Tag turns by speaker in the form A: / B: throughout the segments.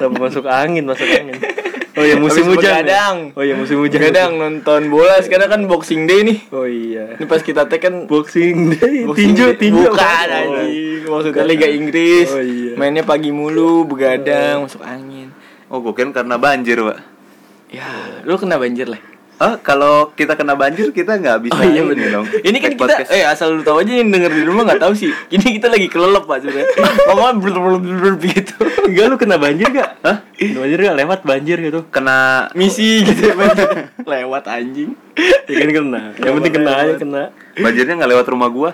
A: Sampai masuk angin, masuk angin. Oh ya musim
B: Habis
A: hujan. ya?
B: begadang.
A: Oh ya musim hujan.
B: Kadang nonton bola sekarang kan boxing day nih.
A: Oh iya.
B: Ini pas kita tag kan
A: Boxing day,
B: Boxing
A: tinju,
B: Day.
A: tinju.
B: Bukan
A: Oh.
B: anjing. Maksudnya Liga Inggris.
A: Oh, iya.
B: Mainnya pagi mulu, begadang, masuk angin.
C: Oh, gue kan karena banjir, Pak.
B: Ya, lu kena banjir lah.
C: Ah, kalau kita kena banjir kita nggak bisa
B: Oh iya
C: ini
B: bener
C: dong.
B: Ini kan
C: Take
B: kita
C: podcast.
B: eh asal lu tahu aja yang denger di rumah nggak tahu sih. Ini kita lagi kelelep Pak sebenarnya. Ngomong blur blur blur gitu.
A: Enggak lu kena banjir gak?
C: Hah?
A: Kena banjir gak? Lewat banjir gitu.
C: Kena
B: Misi gitu Pak. lewat anjing.
A: Ya kan kena. Yang penting kena aja kena.
C: banjirnya nggak lewat rumah gua.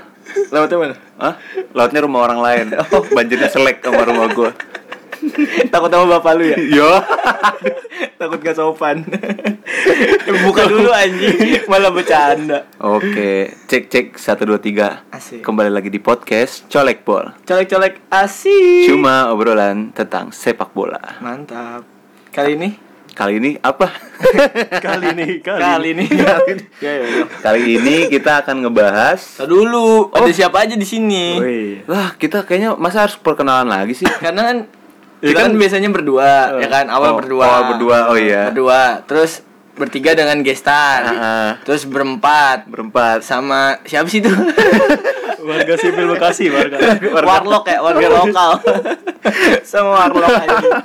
B: Lewatnya mana?
C: Hah? Lautnya rumah orang lain. Oh, banjirnya selek sama rumah gua.
B: Takut sama bapak lu ya?
C: Yo.
B: Takut gak sopan. Ya, Buka dulu anjing, malah bercanda.
C: Oke, cek cek 1 2 3.
B: Asik.
C: Kembali lagi di podcast Colek Bol.
B: Colek-colek asik.
C: Cuma obrolan tentang sepak bola.
B: Mantap. Kali ini?
C: Kali ini apa?
A: Kali nih, kali.
B: Kali ini. ya ya. ya.
C: Kali ini kita akan ngebahas
B: Ntar dulu, ada siapa aja di sini?
A: Woi.
C: Lah, kita kayaknya masa harus perkenalan lagi sih?
B: Karena kan
A: Ya
B: kita
A: kan-
B: kan biasanya berdua, ya kan? Awal
C: Oh,
B: berdua.
C: awal berdua, oh iya.
B: Berdua, terus bertiga dengan gestar.
C: Heeh.
B: Terus berempat
C: Ah, Berempat.
B: sama siapa sih itu?
A: Warga sipil Bekasi, warga.
B: warlock ya, warga lokal. sama warlock aja.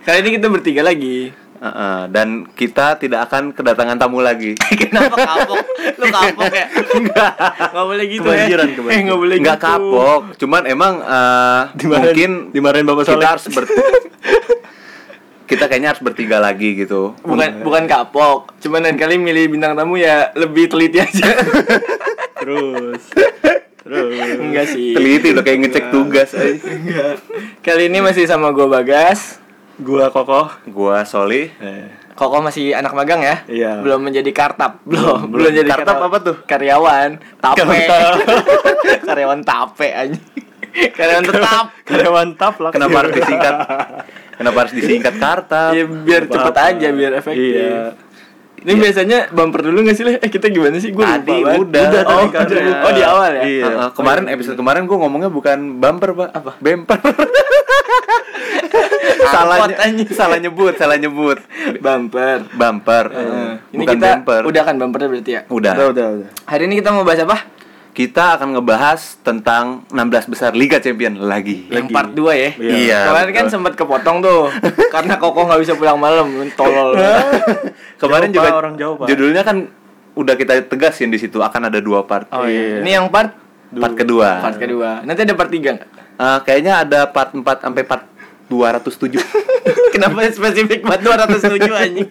B: Kali ini kita bertiga lagi.
C: Heeh, dan kita tidak akan kedatangan tamu lagi.
B: Kenapa kapok? Lu kapok ya? Enggak. Enggak boleh gitu
A: Kebanjiran,
B: ya.
A: kebanjiran.
B: Eh, enggak boleh
C: Nggak
B: gitu.
C: kapok, cuman emang eh, mungkin
A: Dimarahin, dimarahin Bapak
C: kita
A: Soleh.
C: harus ber- kita kayaknya harus bertiga lagi gitu.
B: Bukan bukan kapok. Cuman lain kali milih bintang tamu ya lebih teliti aja.
A: Terus. Terus.
B: Enggak sih.
C: Teliti udah kayak ngecek tugas. eh.
B: Enggak. Kali ini masih sama gua Bagas.
A: Gua kokoh.
C: Gua Soli.
A: Eh.
B: Koko masih anak magang ya?
A: Iya.
B: Belum menjadi kartap. Belum. Belum, jadi
C: Kartap apa tuh?
B: Karyawan. Tape.
A: Kartap.
B: karyawan tape aja. Karyawan tetap.
A: Karyawan tap lah.
C: Kenapa harus disingkat? Kenapa harus disingkat Karta?
B: Ya, biar
A: Apa-apa.
B: cepet aja, biar efektif.
A: Iya.
B: Ini biasanya bumper dulu gak sih Leh? Eh kita gimana sih? Gue
C: Tadi udah.
B: udah
C: Oh,
B: tadi kan.
C: udah.
B: Oh di awal ya?
A: Iya.
C: Heeh, kemarin episode kemarin gue ngomongnya bukan bumper pak apa bumper salah nye-
B: Angkot, anjing.
C: salah nyebut salah nyebut
B: Bumper
C: bumper
B: Nah, Ini
C: bukan
B: kita
C: bumper
B: udah kan bumpernya berarti ya?
C: udah
A: Udah, udah, udah.
B: Hari ini kita mau bahas apa?
C: kita akan ngebahas tentang 16 besar Liga Champion lagi
B: Yang part 2 ya?
A: Iya.
C: Iya,
B: Kemarin kan
C: betul.
B: sempat kepotong tuh Karena Koko gak bisa pulang malam Tolol
A: Eh,
C: kemarin
A: Jauh,
C: juga
A: Pak, orang jauh, Pak.
C: judulnya kan udah kita tegasin di situ akan ada dua part
B: Oh
A: Iya.
B: iya Ini yang part
C: part kedua
B: Part kedua Nanti ada part 3 gak?
C: Eh, kayaknya ada part 4 sampai part 207
B: Kenapa spesifik banget 207 anjing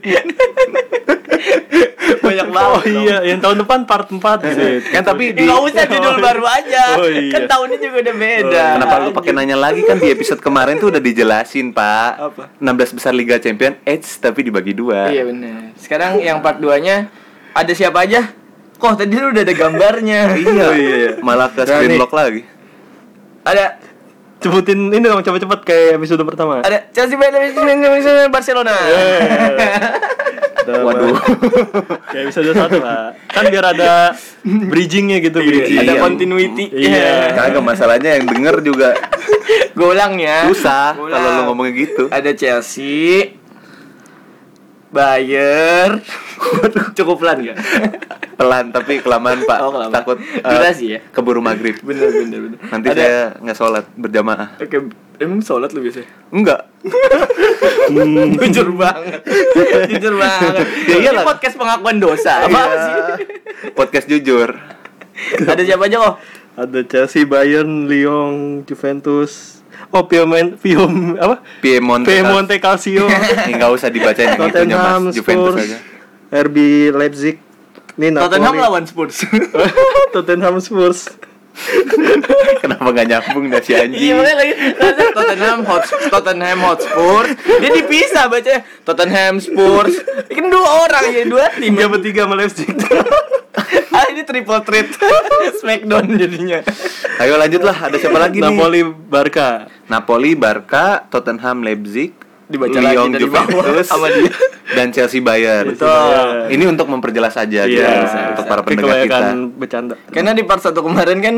B: Banyak banget
A: Oh iya, yang tahun depan part 4 gitu.
C: kan tapi di
B: Gak usah judul baru aja
A: Oh, iya.
B: Kan tahunnya juga udah beda
C: Kenapa lu pakai nanya lagi kan di episode kemarin tuh udah dijelasin, Pak.
B: Apa?
C: 16 besar Liga Champion Eits tapi dibagi dua.
B: Iya benar. Sekarang yang part 2-nya ada siapa aja? Kok tadi lu udah ada gambarnya.
C: Iya. Malah ke
A: Nah,
C: screen
A: nih.
C: lock lagi.
B: Ada
A: Sebutin ini dong cepet-cepet kayak episode pertama.
C: Eh.
B: ada Chelsea Bayern Munchen Barcelona.
C: Waduh.
A: Kayak episode satu lah. Kan biar ada bridgingnya gitu, bridging.
B: Ada
C: Iya.
B: continuity.
A: Iya.
C: Kagak masalahnya yang denger juga
B: Gue ulang ya.
C: susah
B: Gua
C: kalau lu
B: ulang.
C: ngomongnya gitu.
B: Ada Chelsea Bayer Cukup pelan gak?
C: Pelan tapi kelamaan, Pak.
B: Oh, kelamaan.
C: Takut eh,
B: Durasi ya?
C: keburu maghrib.
B: bener bener bener
C: Nanti
B: ada,
C: saya nggak sholat berjamaah.
B: Oke, emang sholat lu biasanya?
C: Enggak.
B: Jujur banget Jujur banget
C: hmm. Ya iyalah.
B: Ini podcast pengakuan dosa Apa
C: Iya.
B: sih?
C: Podcast jujur.
B: Ada siapa aja kok?
A: Ada Chelsea, Bayern, Lyon, Juventus. Oh, Piemonte, Piom apa?
C: Piemonte.
A: Piemonte Calcio,
C: Enggak usah dibacain yang itunya,
A: Tottenham,
C: Mas. Juventus
A: Spurs,
C: aja.
A: RB Leipzig. Ini Napoli.
B: Tottenham lawan Spurs.
A: Tottenham Spurs.
C: Kenapa nggak nyambung dari si anjing?
B: Iya makanya lagi rasanya Tottenham Hotspur, Tottenham Hotspur. Dia dipisah baca Tottenham Spurs. Ini Kan dua orang ya dua tim.
C: Iya,
A: Tiga bertiga sama Leipzig.
B: Ah ini triple threat Smackdown jadinya.
C: Ayo lanjutlah, ada siapa lagi nih?
A: Napoli, Barca.
C: Napoli, Barca, Tottenham, Leipzig,
B: Dibaca lagi
C: Lyon,
B: dari bawah
C: Juventus,
B: sama dia.
C: dan Chelsea Bayern.
A: Betul.
C: Ini untuk
B: Iya,
C: memperjelas aja, guys, Iya, untuk para
A: Iya. Tapi
C: pendengar kita.
A: kebanyakan bercanda.
B: Karena di part satu kemarin kan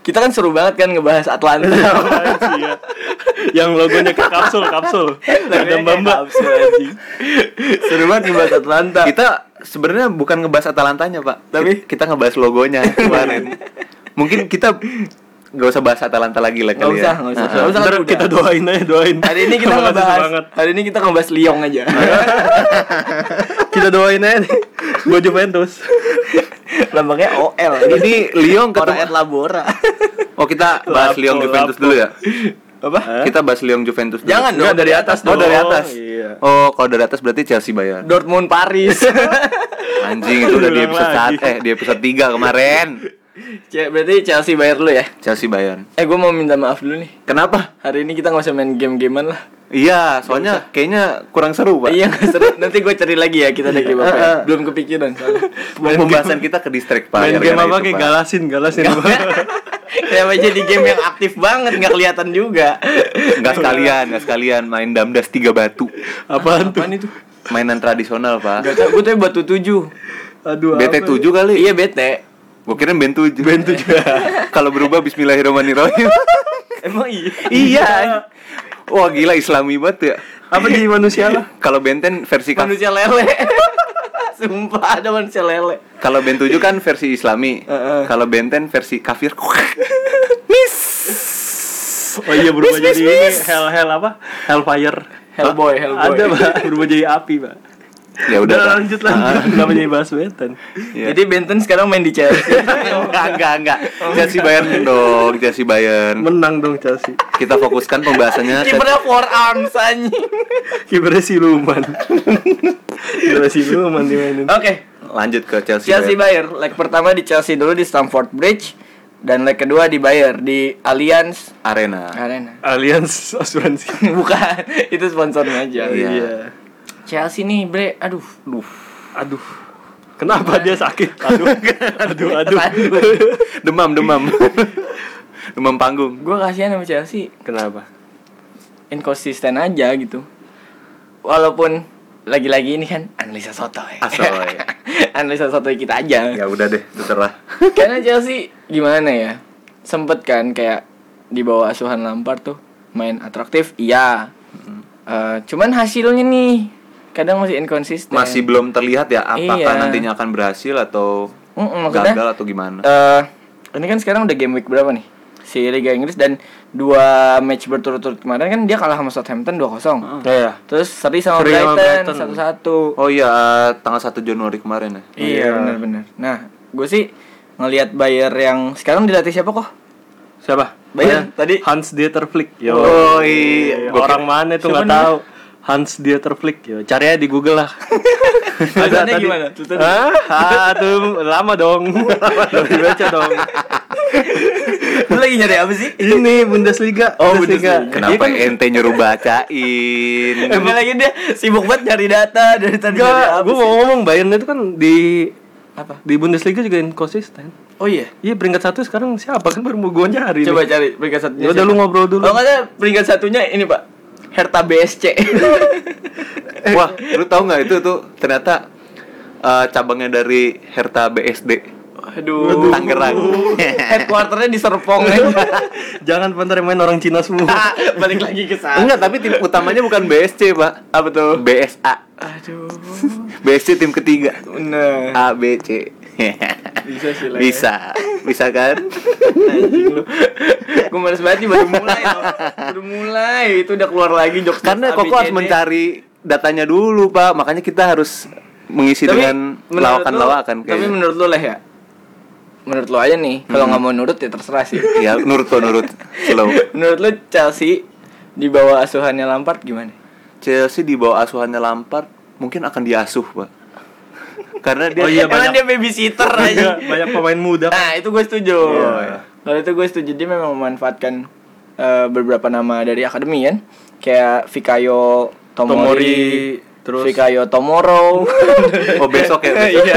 B: Kita kan seru banget kan ngebahas Atlanta.
A: Apaan sih ya? yang logonya kayak kapsul kapsul ada
B: Logonya
A: mbak
B: kayak kapsul, anjing. seru banget ngebahas Atlanta.
C: Kita sebenarnya bukan ngebahas Atalantanya, Pak. Tapi kita ngebahas logonya kemarin. Mungkin kita nggak usah bahas Atalanta lagi lah
B: Nggak
C: kali
B: usah,
C: ya.
B: nggak usah.
C: Heeh.
B: Nggak usah.
A: Ntar
B: udah.
A: kita doain aja doain
B: Hari ini kita
A: Terima kasih
B: ngebahas
A: semangat.
B: hari ini kita ngebahas Lyon aja.
A: kita doain aja Eh, nih buat Juventus
B: Lambangnya OL.
C: Ini Lyon
B: Orang
C: ketemu.
B: et labora.
C: Oh, kita bahas
A: Lapo,
C: Lyon Juventus
A: Lapo.
C: dulu ya.
B: Apa?
A: Hah?
C: Kita bahas Lyon Juventus dulu.
B: Jangan
A: Nggak,
B: dong.
A: dari atas
C: Oh, dari
A: dong.
C: atas.
A: Iya.
C: Oh, kalau dari atas berarti Chelsea bayar.
B: Dortmund Paris.
C: Anjing itu udah di
A: Diulang
C: episode
A: lagi.
C: saat eh di episode 3 kemarin.
B: Cek, berarti Chelsea bayar dulu ya.
C: Chelsea bayar.
B: Eh gue mau minta maaf dulu nih.
C: Kenapa?
B: Hari ini kita nggak usah main game-gamean lah.
C: Iya, soalnya kayaknya kurang seru, Pak.
B: Iya nggak seru. Nanti gue cari lagi
A: Iya.
B: ya kita ada game apa. ya.
C: Heeh.
B: Belum kepikiran. soalnya.
C: Pembahasan kita ke distrik, Pak.
A: main
C: gara-gara
A: game apa
C: itu,
A: kayak
C: Pak.
A: galasin galasin
B: Kenapa jadi game yang aktif banget nggak kelihatan juga.
C: Nggak sekalian, nggak sekalian main damdas tiga batu.
A: apaan tuh
B: Apaan itu?
C: Mainan tradisional, Pak.
B: Gak tau. Gue tuh batu tujuh.
A: aduh
C: BT
A: apa
C: 7 kali.
B: Iya bete.
C: kan? Gua kira Ben 7. Ben 7. Kalau berubah bismillahirrahmanirrahim.
B: Emang iya.
C: iya. Wah, gila islami banget ya.
A: ya? apa jadi manusia lah
C: Kalau Benten versi kaf-
B: Manusia lele. Sumpah ada manusia lele.
C: Kalau Ben 7 kan versi Islami.
B: Heeh.
C: Kalau Benten versi kafir.
A: oh iya berubah jadi ini hell hell apa hellfire
B: Hellboy, Hellboy.
A: ada pak berubah jadi api pak
C: ya udah. Pak.
A: lanjut lanjut kenapa jadi bahas Benten
C: Iya.
B: Jadi Benton sekarang main di Chelsea.
C: enggak, enggak, enggak. Chelsea Bayern dong, Chelsea Bayern.
A: menang dong Chelsea
C: Kita fokuskan pembahasannya ke
B: Kipernya forearms anjing.
A: kipernya siluman kipernya siluman dimainin
B: Oke,
C: lanjut ke Chelsea.
B: Chelsea
C: Bayern.
B: Bayer. Leg pertama di Chelsea dulu di Stamford Bridge dan leg kedua di Bayer di Allianz
C: Arena.
B: Arena.
A: Allianz asuransi
B: Bukan, itu sponsornya aja.
C: Iya.
B: Chelsea nih, Bre. Aduh.
C: Aduh,
A: aduh kenapa dia sakit aduh aduh aduh
C: demam, demam. demam panggung.
B: Gue kasihan sama Chelsea.
A: kenapa
B: Inkonsisten aja gitu. Walaupun lagi-lagi ini kan analisa sotoy.
C: Asoy.
B: analisa sotoy kita aja.
C: Ya udah deh, terserah.
B: Karena Chelsea gimana ya? Sempet kan kayak di bawah asuhan Lampard tuh main atraktif, iya. Eh, cuman hasilnya nih kadang masih inkonsisten.
C: Masih belum terlihat ya apakah
B: Iya.
C: nantinya akan berhasil atau
B: Mm-mm, maksudnya,
C: gagal atau gimana.
B: eh, ini kan sekarang udah game week berapa nih? Si Liga Inggris dan dua match berturut-turut kemarin kan dia kalah sama Southampton 2-0.
C: Ah.
A: ya
B: Terus seri sama
A: Seri sama
B: Brighton
A: Brighton.
B: satu-satu.
C: Oh iya, tanggal 1 Januari kemarin ya.
A: Iya.
B: Iya, benar-benar. Nah, gue sih ngelihat Bayer yang sekarang dilatih siapa kok?
A: siapa
B: Bayern
A: Oh,
B: tadi.
A: iya. Hans Dieter Flick yo
C: Oh, iya. Gua
A: orang mana tuh
B: Siapa
A: nggak
B: namanya?
A: tahu Hans Dieter Flick yo cari aja di Google lah
B: Tulisannya
A: Tadi-
B: gimana? Tulisannya-
A: Hah? Ah, tuh lama dong. Belum dibaca dong.
B: Lu lagi nyari apa sih?
A: Ini Bundesliga.
B: Oh, Bundesliga.
A: Dia
C: Kenapa
A: kan-
C: ente nyuruh bacain?
B: Emang lagi dia sibuk banget nyari data dari tadi nyari
A: Enggak,
B: apa
A: gue
B: sih?
A: mau ngomong Bayern itu kan di
B: Apa?
A: di Bundesliga juga inkonsisten.
B: Oh iya.
A: Iya peringkat satu sekarang siapa kan baru mau gue nyari.
B: Coba
A: nih.
B: cari peringkat satunya.
A: Ya udah,
B: siapa?
A: lu ngobrol dulu.
B: Kalau nggak ada peringkat satunya ini Pak. Herta BSC. Eh.
C: Wah, lu tahu nggak itu tuh ternyata eh, cabangnya dari Herta BSD
B: Aduh.
C: Tangerang.
B: Headquarternya di Serpong.
A: Jangan pantar main orang Cina semua.
B: Balik lagi ke sana.
C: Enggak, tapi tim utamanya bukan BSC, Pak.
B: Ah,
C: Apa tuh? BSA.
B: Aduh.
C: BSC tim ketiga.
B: Bener.
C: A B C.
B: Eh. Bisa sih lah. ya.
C: Bisa. Bisa kan?
B: Gue males banget nih baru mulai loh. Baru mulai itu udah keluar lagi jokes
C: Karena Koko harus mencari datanya dulu, Pak. Makanya kita harus mengisi dengan
B: Tapi
C: lawakan-lawakan kayaknya.
B: menurut lu lah ya. Menurut lu aja nih, kalau nggak mau nurut ya terserah sih.
C: Ya, nurut tuh, nurut. Slow.
B: Menurut lu Chelsea di bawah asuhannya Lampard gimana?
C: Chelsea di bawah asuhannya Lampard mungkin akan diasuh, Pak. Karena dia
A: Oh iya,
B: Emang
A: banyak. Iya,
B: dia babysitter Ah, aja.
A: Banyak pemain muda.
B: Nah, itu gue setuju.
C: Iya.
B: Kalau itu gue setuju dia memang memanfaatkan eh, beberapa nama dari akademi kan. Kayak Fikayo Tomori,
A: Tomori, terus-
B: Fikayo Tomoro.
C: Oh besok ya besok.
B: Iya.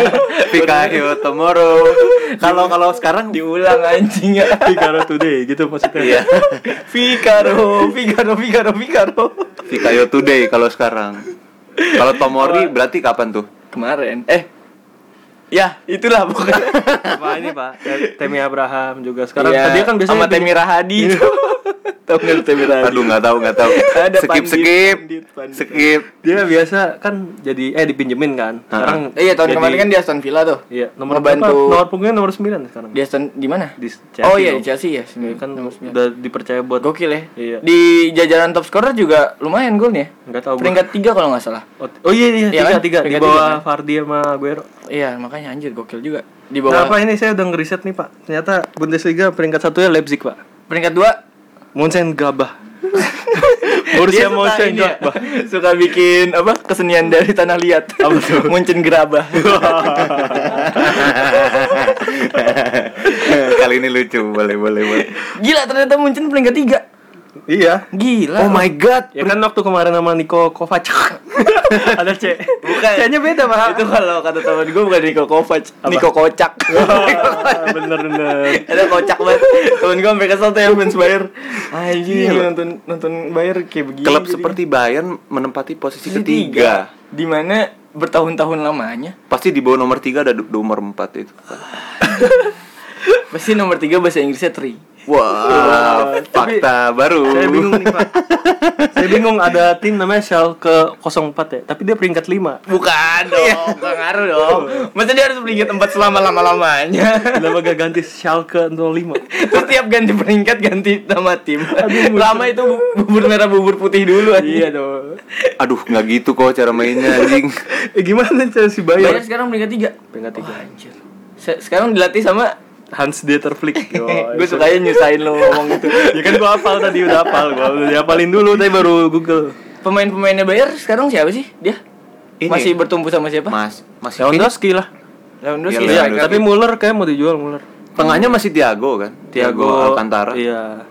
C: Fikayo tomorrow. Kalau kalau sekarang
B: Diulang anjing ya.
A: Figaro today gitu maksudnya.
C: iya.
B: Figaro, Figaro, Figaro, Figaro.
C: Fikayo today kalau sekarang. Kalau Tomori berarti kapan tuh?
B: Kemarin eh ya itulah pokoknya Iya,
A: Apa ini Pak? Temi Abraham juga sekarang. Tadi kan biasanya
B: sama
A: di- Iya.
B: Temi Rahadi tau nggak lu Temi Rahadi
C: Aduh nggak tahu nggak tahu.
B: Ada
C: skip
B: pandit,
C: skip
B: pandit, pandit.
C: skip.
A: dia biasa kan jadi eh dipinjemin kan. Sekarang
B: Eh, iya tahun
A: jadi-
B: kemarin kan di Aston Villa tuh
A: Iya, nomor berapa?
B: Ngebantu-
A: Nomor punggungnya nomor 9 sekarang.
B: di Aston di mana
A: Di
B: oh
A: Chelsea
B: iya
A: dong.
B: di Chelsea ya sembilan.
A: kan
B: Iya, Nomor sembilan.
A: udah dipercaya buat
B: gokil ya
A: Iya.
B: di jajaran top scorer juga lumayan golnya
A: Nggak tahu gua.
B: peringkat tiga kalau nggak salah
A: Oh, oh iya iya,
B: Iya
A: tiga,
B: kan?
A: tiga, di
B: Peringkat tiga,
A: bawah Fardi sama Aguero.
B: iya makanya anjir gokil juga di
A: Nah,
B: bawah
A: apa ini saya udah ngeriset nih, Pak. Ternyata Bundesliga peringkat satunya Leipzig, Pak.
B: peringkat dua
A: Monsen Gabah. Borussia
B: suka
A: Monsen
B: ini ya,
A: Gabah.
B: suka bikin apa kesenian dari tanah liat apa tuh muncin gerabah
C: Kali ini lucu boleh boleh boleh.
B: gila ternyata muncin peringkat tiga ya?
A: Iya.
B: gila
C: Oh my god.
A: Ya kan waktu kemarin sama Niko Kovac ada C.
B: Bukan.
A: C-nya beda, Pak.
B: itu kalau kata teman gue bukan Niko Kovac Niko Kocak
A: bener bener.
B: ada kocak banget temen gue sampai kesel tuh yang fans Bayer anjing
C: Gila.
B: nonton nonton Bayer kayak
A: Iya,
B: begini
C: Klub
B: jadinya.
C: seperti Bayern menempati posisi
B: Posisi
C: ketiga.
B: di mana bertahun-tahun lamanya
C: Pasti di bawah nomor tiga ada du- nomor empat itu.
B: pasti nomor tiga bahasa Inggrisnya tri
C: Wah, fakta baru.
A: Saya bingung nih, Pak. Saya bingung ada tim namanya Schalke 04 ya, tapi dia peringkat 5.
B: Bukan dong, gak ngaruh dong. Iya. Masa dia harus peringkat tempat selama lama-lamanya?
A: Kenapa gak ganti Schalke 05?
B: Terus tiap ganti peringkat ganti nama tim.
A: Aduh,
B: Lama itu bu- bubur merah bubur putih dulu aja. Iya dong.
C: Aduh, nggak gitu kok cara mainnya anjing.
A: Eh gimana cara si Bayar?
B: Bayar sekarang peringkat tiga.
A: Peringkat tiga.
B: Wah, anjir. Oh, iya. Se- sekarang dilatih sama
A: Hans Dieter Flick.
B: gue sukanya nyusahin lo ngomong gitu.
A: ya kan gua hafal tadi udah hafal, gua udah dihafalin dulu tapi baru Google.
B: Pemain-pemainnya Bayar sekarang siapa sih? Dia
C: Ini.
B: masih bertumpu sama siapa?
C: Mas, masih
A: Lewandowski lah.
B: Lewandowski.
C: Iya,
A: Iya,
B: striker.
A: tapi Muller kayak mau dijual Muller.
C: tengahnya masih Tiago kan? Tiago Alcantara.
A: Iya.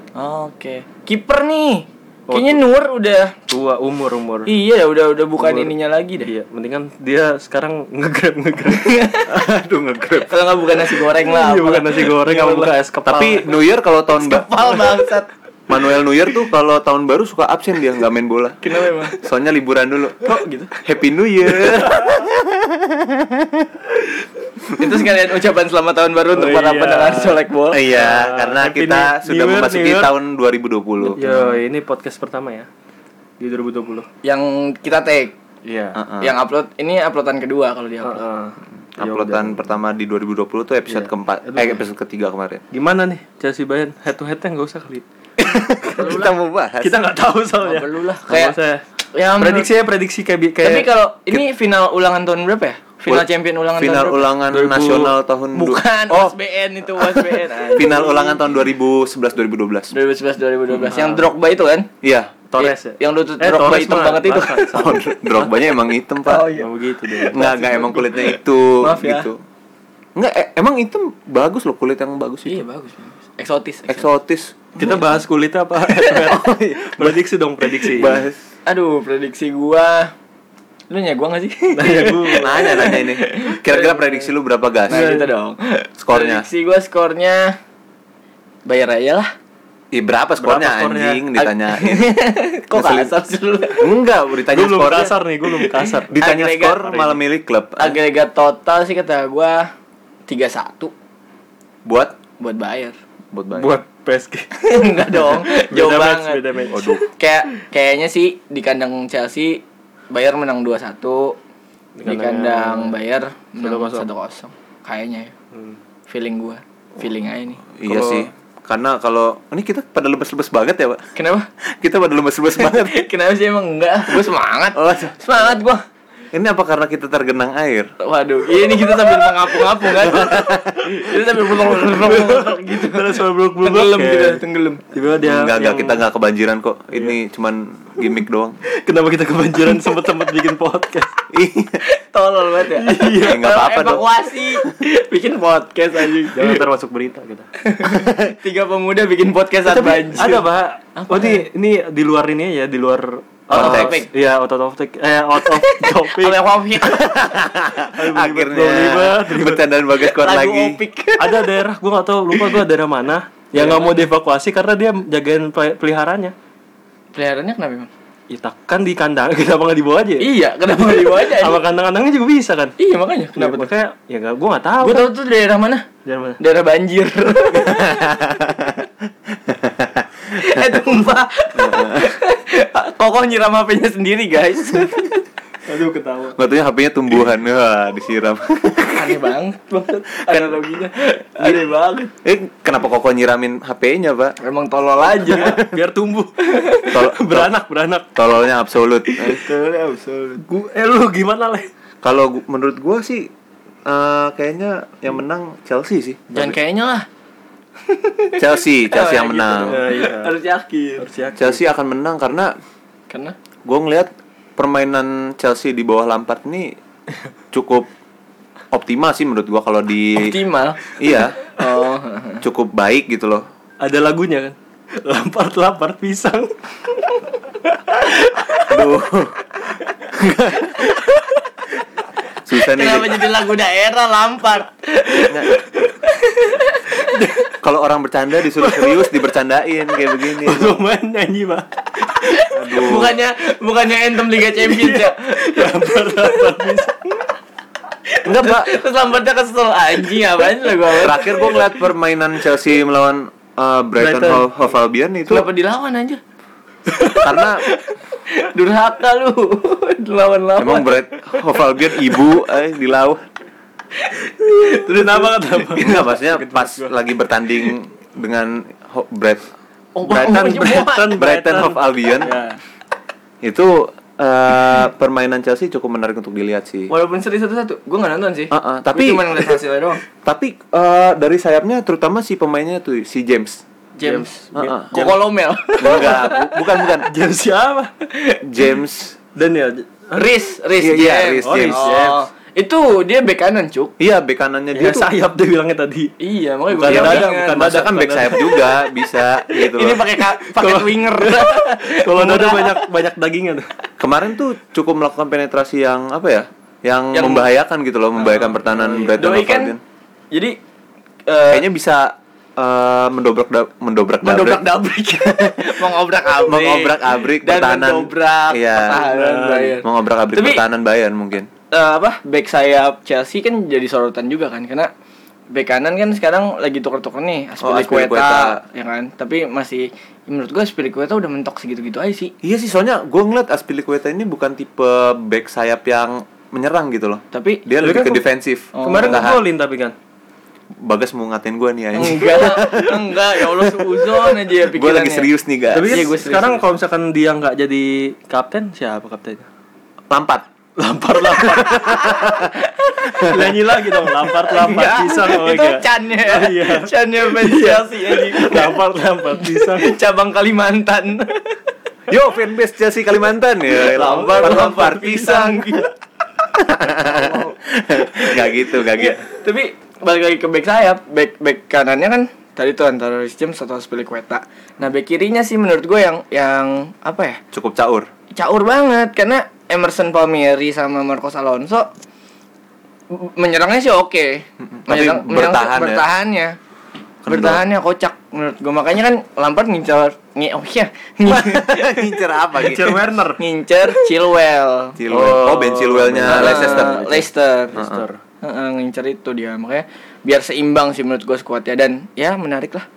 B: Oke. Kiper nih. Kayaknya Nur udah
A: Tua umur umur.
B: iya udah udah bukan ininya lagi deh.
A: Iya, mendingan dia sekarang ngegrab ngegrab.
C: Aduh, ngegrab.
B: Kalau nggak bukan nasi goreng lah.
A: Iya, bukan nasi goreng, kamu buka es kepal.
C: Tapi New Year kalau tahun ba-
B: Kepal bangsat.
C: Manuel Neuer tuh kalau tahun baru suka absen dia nggak main bola.
B: Kenapa emang?
C: Soalnya liburan dulu.
B: Kok gitu?
C: Happy New Year.
B: Itu sekalian ucapan selamat tahun baru untuk
A: Oh,
B: para
A: iya.
B: pendengar Solek Ball.
C: iya, karena
A: Happy
C: kita
A: New-
C: sudah
A: New Year, Iya.
C: memasuki
A: New Year.
C: tahun 2020.
A: Yo, ini podcast pertama ya di 2020.
B: Yang kita take,
A: Iya.
C: Heeh.
B: yang upload ini uploadan kedua kalau dia upload.
A: Heeh. Ya
C: Ya Uploadan pertama di 2020 tuh episode keempat, eh episode ketiga kemarin.
A: Gimana nih Chelsea Bayern head to headnya nggak usah kali.
C: kita mau bahas.
A: Kita nggak tahu soalnya.
B: Nggak perlu lah.
A: Nggak
B: Kayak-
A: usah.
B: Ya, menurut-
A: prediksi ya prediksi kayak bi- kayak
B: Tapi kalau ini final ulangan tahun berapa ya? Final
C: Ul-
B: champion ulangan
C: final
B: tahun berapa?
C: ulangan
A: 2000
C: nasional tahun du-
B: Bukan,
A: Oh.
B: USBN itu USBN.
C: final ulangan tahun 2011 2012.
B: 2011 2012 yang Drogba itu kan?
C: Iya.
A: Ah. Torres ya.
B: Ya, yang lutut Drogba
A: Torres
B: hitam
A: mah
B: banget itu.
A: Barca.
C: Tahun Drogbanya emang hitam, Pak.
A: Oh iya. Emang begitu deh.
C: Enggak, enggak emang kulitnya itu
B: Maaf ya.
C: gitu. Enggak, e- emang hitam bagus loh kulit yang bagus itu.
B: Iya, bagus. bagus. Eksotis. eksotis.
C: Eksotis. Iya.
A: Kita bahas kulitnya apa? prediksi dong prediksi.
C: Bahas.
B: Aduh, prediksi gua. Lu nya gua gak sih?
A: Nanya gue.
C: Nanya nanya ini. Kira-kira prediksi lu berapa gas?
B: Nah, gitu dong.
C: Skornya.
B: Prediksi gua skornya bayar aja lah.
C: Ih, berapa skornya,
A: Berapa skornya?
C: anjing ditanyain.
B: Kok
C: Ngeselin.
B: kasar sih lu?
C: Enggak, ditanya
A: Gue belum
C: skornya.
A: kasar nih, gue belum kasar.
C: Ditanya
B: Agregat
C: skor
B: hari
C: malah milih klub.
B: Agregat total sih kata gua 3-1
C: Buat
B: buat bayar.
C: buat Bayern.
A: Buat PSG.
B: Enggak dong, Oh, jauh
A: Beda match,
B: banget.
A: beda match.
C: Waduh.
B: Kayak kayaknya sih di kandang Chelsea Bayar menang 2-1. Di
A: Di
B: kandang,
A: kandang
B: Bayar menang
A: 1-0.
B: 1-0. Kayaknya ya.
A: Hmm.
B: Feeling gua. Feeling aja nih.
C: Iya
A: Kalau-
C: sih. Karena kalau ini kita pada lemes-lemes banget ya, Pak.
B: Kenapa?
C: Kita pada lemes-lemes banget.
B: Kenapa sih emang enggak? Gua semangat.
C: Oh,
B: Semangat gua.
C: ini apa karena kita tergenang air?
B: Waduh, iya ini kita sambil mengapung-apung kan. Kita sambil belong-belong gitu.
A: Terus belum belum
B: Tenggelam gitu. kita, tenggelam.
A: Tiba-tiba dia
C: enggak, enggak
A: Ya, yang- Iya.
C: kita enggak kebanjiran kok. Ini cuman gimmick doang.
A: Kenapa kita kebanjiran sempet-sempet bikin podcast?
B: Tolol banget ya.
C: Iya, nggak apa-apa dong.
B: Evakuasi. Bikin podcast aja.
A: Jangan termasuk berita kita.
B: Tiga pemuda bikin podcast saat banjir.
A: Ada pak? Oh ini ini di luar ini ya di luar
B: Out of
A: eh,
B: topic.
A: Iya out of topic. Eh out of topic.
B: Oleh Wafi.
A: belum ribet,
C: Akhirnya
A: belum ribet.
C: bercandaan bagas kuat
B: Lagu
C: lagi.
B: Opik.
A: ada daerah gua nggak tahu lupa gua daerah mana yang nggak mau dievakuasi karena dia jagain pel- peliharaannya.
B: Peliharaannya kenapa emang?
A: Kita kan di kandang, kenapa nggak dibawa aja? ya?
B: Iya, kenapa nggak dibawa aja?
A: Sama kandang-kandangnya juga bisa kan?
B: Iya makanya kenapa?
A: Ya, makanya ya nggak, gue nggak tahu.
B: Gue tahu tuh daerah mana?
A: Dari mana?
B: Daerah banjir. eh tumpah. Kokoh nyiram HP-nya sendiri guys.
A: Aduh ketawa.
C: Nggak taunya HP-nya tumbuhan,
A: Iya.
C: wah disiram.
B: Aneh banget, banget analoginya. Aneh banget.
C: eh kenapa koko nyiramin HP-nya pak?
B: Emang tolol aja.
A: Biar tumbuh.
C: Tol-
A: beranak, beranak.
C: Tololnya absolut. Eh,
A: Gue, eh lu gimana leh?
C: Kalau gu- menurut gua sih eh, kayaknya yang menang Chelsea sih.
B: Jangan kayaknya lah.
C: Chelsea, Chelsea yang
B: gitu
C: menang.
A: Ya, iya.
B: Harus yakin.
A: Harus ya. yakin.
C: Chelsea akan menang karena
B: Karena
C: gue ngelihat permainan Chelsea di bawah Lampard nih cukup optimal sih menurut gua kalau di
B: optimal.
C: iya
B: Oh.
C: cukup baik gitu loh.
A: Ada lagunya kan? Lampar lapar pisang.
C: Aduh. Susah nih.
B: Kenapa jadi lagu daerah lampar?
C: Nggak. Kalau orang bercanda disuruh serius dibercandain kayak begini.
A: Lu main nyanyi pak.
B: Bukannya bukannya anthem Liga
C: Iya.
B: Champions ya?
A: Lampar lapar pisang.
C: Enggak, Pak.
B: Terus lamparnya kesel anjing apaan sih lagu apa?
C: Terakhir gua ngeliat permainan Chelsea melawan eh, Brighton,
A: Brighton.
C: Hove- Hove Albion itu
B: Kenapa dilawan anjir?
C: karena
B: Durhaka lu.
C: emang
B: Dilawan-lawan.
C: Bright Hove Albion ibu eh di laut.
A: Terus kenapa kenapa?
C: Enggak Iya, maksudnya pas lagi bertanding dengan Ho- Bright
B: Oh,
C: Brighton,
B: oh,
C: Brighton,
A: Brighton.
C: Brighton Hove Albion
A: Ya.
C: itu eh, permainan Chelsea cukup menarik untuk dilihat sih.
B: Walaupun seri satu-satu, gue gak nonton sih.
C: Ah, ah,
B: Gua
C: tapi-
B: cuma ngeliat hasilnya doang.
C: Tapi eh, dari sayapnya terutama si pemainnya tuh si James.
B: James,
C: Ah, ah.
B: Kokolomel,
C: Enggak, bu- bukan bukan.
A: Jam siapa? ya,
C: James.
A: Daniel.
B: Riz, Riz
C: Iya, iya, Riz
B: James.
C: Oh, James.
B: Oh, itu dia bek kanan cuk.
C: Iya, bek kanannya dia
A: Ya
C: tuh.
A: sayap dia bilangnya tadi.
B: Iya, makanya
A: Bukan
B: gue
A: dada, bukan dada.
C: Masa kan bek sayap juga bisa gitu
B: Ini
C: loh.
B: pakai ka- pakai winger.
A: Kalau dada banyak banyak dagingnya tuh.
C: Kemarin tuh cukup melakukan penetrasi yang apa ya? Yang,
B: Yang-
C: membahayakan gitu loh, membahayakan pertahanan Brighton
B: Doi
C: Hove
B: kan,
C: Albion.
B: jadi eh,
C: Kayaknya bisa eh, mendobrak da- mendobrak
B: mendobrak
C: dabrak.
B: dabrik, mengobrak abrik,
C: Mengobrak abrik
B: dan
C: pertahanan.
B: mendobrak
C: Iya.
B: pertahanan Bayern.
C: Mengobrak abrik
B: Tapi-
C: pertahanan Bayern mungkin.
B: Eh, apa back sayap Chelsea kan jadi sorotan juga kan karena back kanan kan sekarang lagi tuker-tuker nih Aspilicueta
C: Aspilicueta.
B: ya kan tapi masih menurut gua Aspilicueta udah mentok segitu-gitu aja sih
C: Iya sih, soalnya gue ngeliat Aspilicueta ini bukan tipe back sayap yang menyerang gitu loh.
B: tapi
C: Dia
A: Dia kan
C: lebih ke
A: ke-
C: defensif.
A: Kemarin
C: Oh. Tahan.
A: ngegolin tapi kan.
C: Bagas mau ngatain gue nih anjing.
B: enggak enggak ya Allah seuzon aja ya
C: Gue
B: pikirannya.
C: lagi serius nih guys.
A: Tapi kan
B: Iya, gua serius,
A: sekarang
B: serius.
A: kalau misalkan dia nggak jadi kapten, siapa kaptennya?
C: Lampard.
A: Lampar lampar. Nyanyi lagi dong, lampar lampar
B: Enggak,
A: pisang oh
B: itu
A: iya.
B: Chan-nya ya.
A: Oh, iya.
B: Chan-nya fans Chelsea anjing.
A: Lampar lampar pisang.
B: cabang Kalimantan
C: Yo fanbase Chelsea Kalimantan ya.
B: Lampard, Lampard,
C: gak gitu, gak gitu.
B: tapi balik lagi ke back sayap back back kanannya kan tadi tuh antara Rich James atau Aspilicueta nah back kirinya sih menurut gue yang yang apa ya
C: Cukup caur.
B: caur banget karena Emerson Palmieri sama Marcos Alonso m- menyerangnya sih oke
C: Tapi bertahan ya.
B: bertahannya
C: Kendor.
B: bertahannya kocak menurut gue makanya kan Lampard ngincer ngi oh iya
C: Ngincer apa
A: Cer Werner.
B: ngincer Chilwell
C: Chilwell. Oh, Ben
B: benar.
C: Chilwell-nya Leicester.
B: Leicester
A: Leicester.
B: Heeh, ngincer itu dia makanya biar seimbang sih menurut gue skuadnya dan ya menarik lah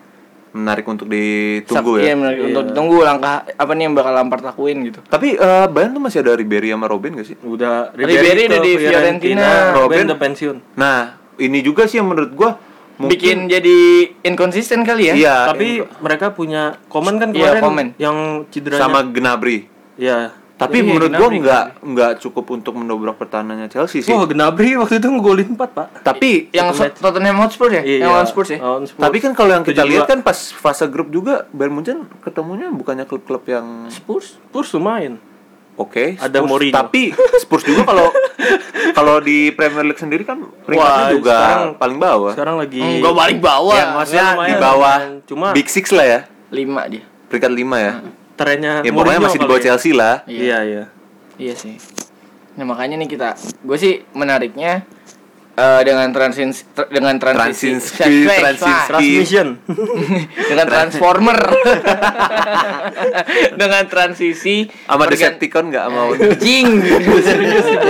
C: Menarik untuk ditunggu
B: Iya,
C: ya.
B: menarik
A: Iya.
B: untuk ditunggu langkah apa nih yang bakal Lampard lakuin gitu
C: Tapi eh Bayern tuh masih ada Ribery sama Robin gak sih?
A: Udah
B: Ribery
A: ke
B: udah di Fiorentina.
A: Robin
C: Robin-
A: udah pensiun.
C: Nah, ini juga sih yang menurut gua mungkin-
B: bikin jadi inkonsisten kali ya
C: Iya,
A: Tapi mereka punya komen kan kemarin
B: Iya, komen.
A: yang cederanya.
C: sama Gnabry.
A: Iya.
C: Tapi
A: Iya,
C: menurut gua
A: Gnabry. kan.
C: nggak nggak cukup untuk mendobrak pertahanannya Chelsea sih.
A: Wah, Gnabry Iya, waktu itu ngegolin 4, Pak.
C: Tapi
B: yang
A: Satu match.
B: Tottenham Hotspur ya
C: Eh, Iya.
A: Iya.
B: yang lawan Spurs ya
A: Lawan Spurs.
C: tapi kan kalau yang kita
A: 72.
C: lihat kan pas fase grup juga Bayern Munchen ketemunya bukannya klub-klub yang
B: Spurs
A: Spurs lumayan.
C: Oke,
A: Ada
C: Spurs.
A: Mourinho.
C: Tapi Spurs juga kalau kalau di Premier League sendiri kan peringkatnya
A: Wah,
C: juga
A: sekarang-
C: paling bawah. Hmm.
A: Sekarang lagi
B: enggak Hmm, balik bawah
C: ya, iya. maksudnya
A: lumayan,
C: di bawah
A: lumayan. Cuma-
C: Big Six lah ya,
B: lima dia
C: peringkat 5 ya.
A: trennya
C: Ya pokoknya
A: Mourinho
C: masih di
A: kali
C: bawah
A: ya.
C: Chelsea lah.
A: Iya, iya.
B: iya sih nah makanya nih kita gue sih menariknya eh, dengan transins tr- dengan transisi
C: Transinski,
B: Wah,
C: transinski.
A: Transmission.
B: dengan transformer dengan transisi
C: Sama
B: organ-
C: Decepticon nggak mau?
B: Jing.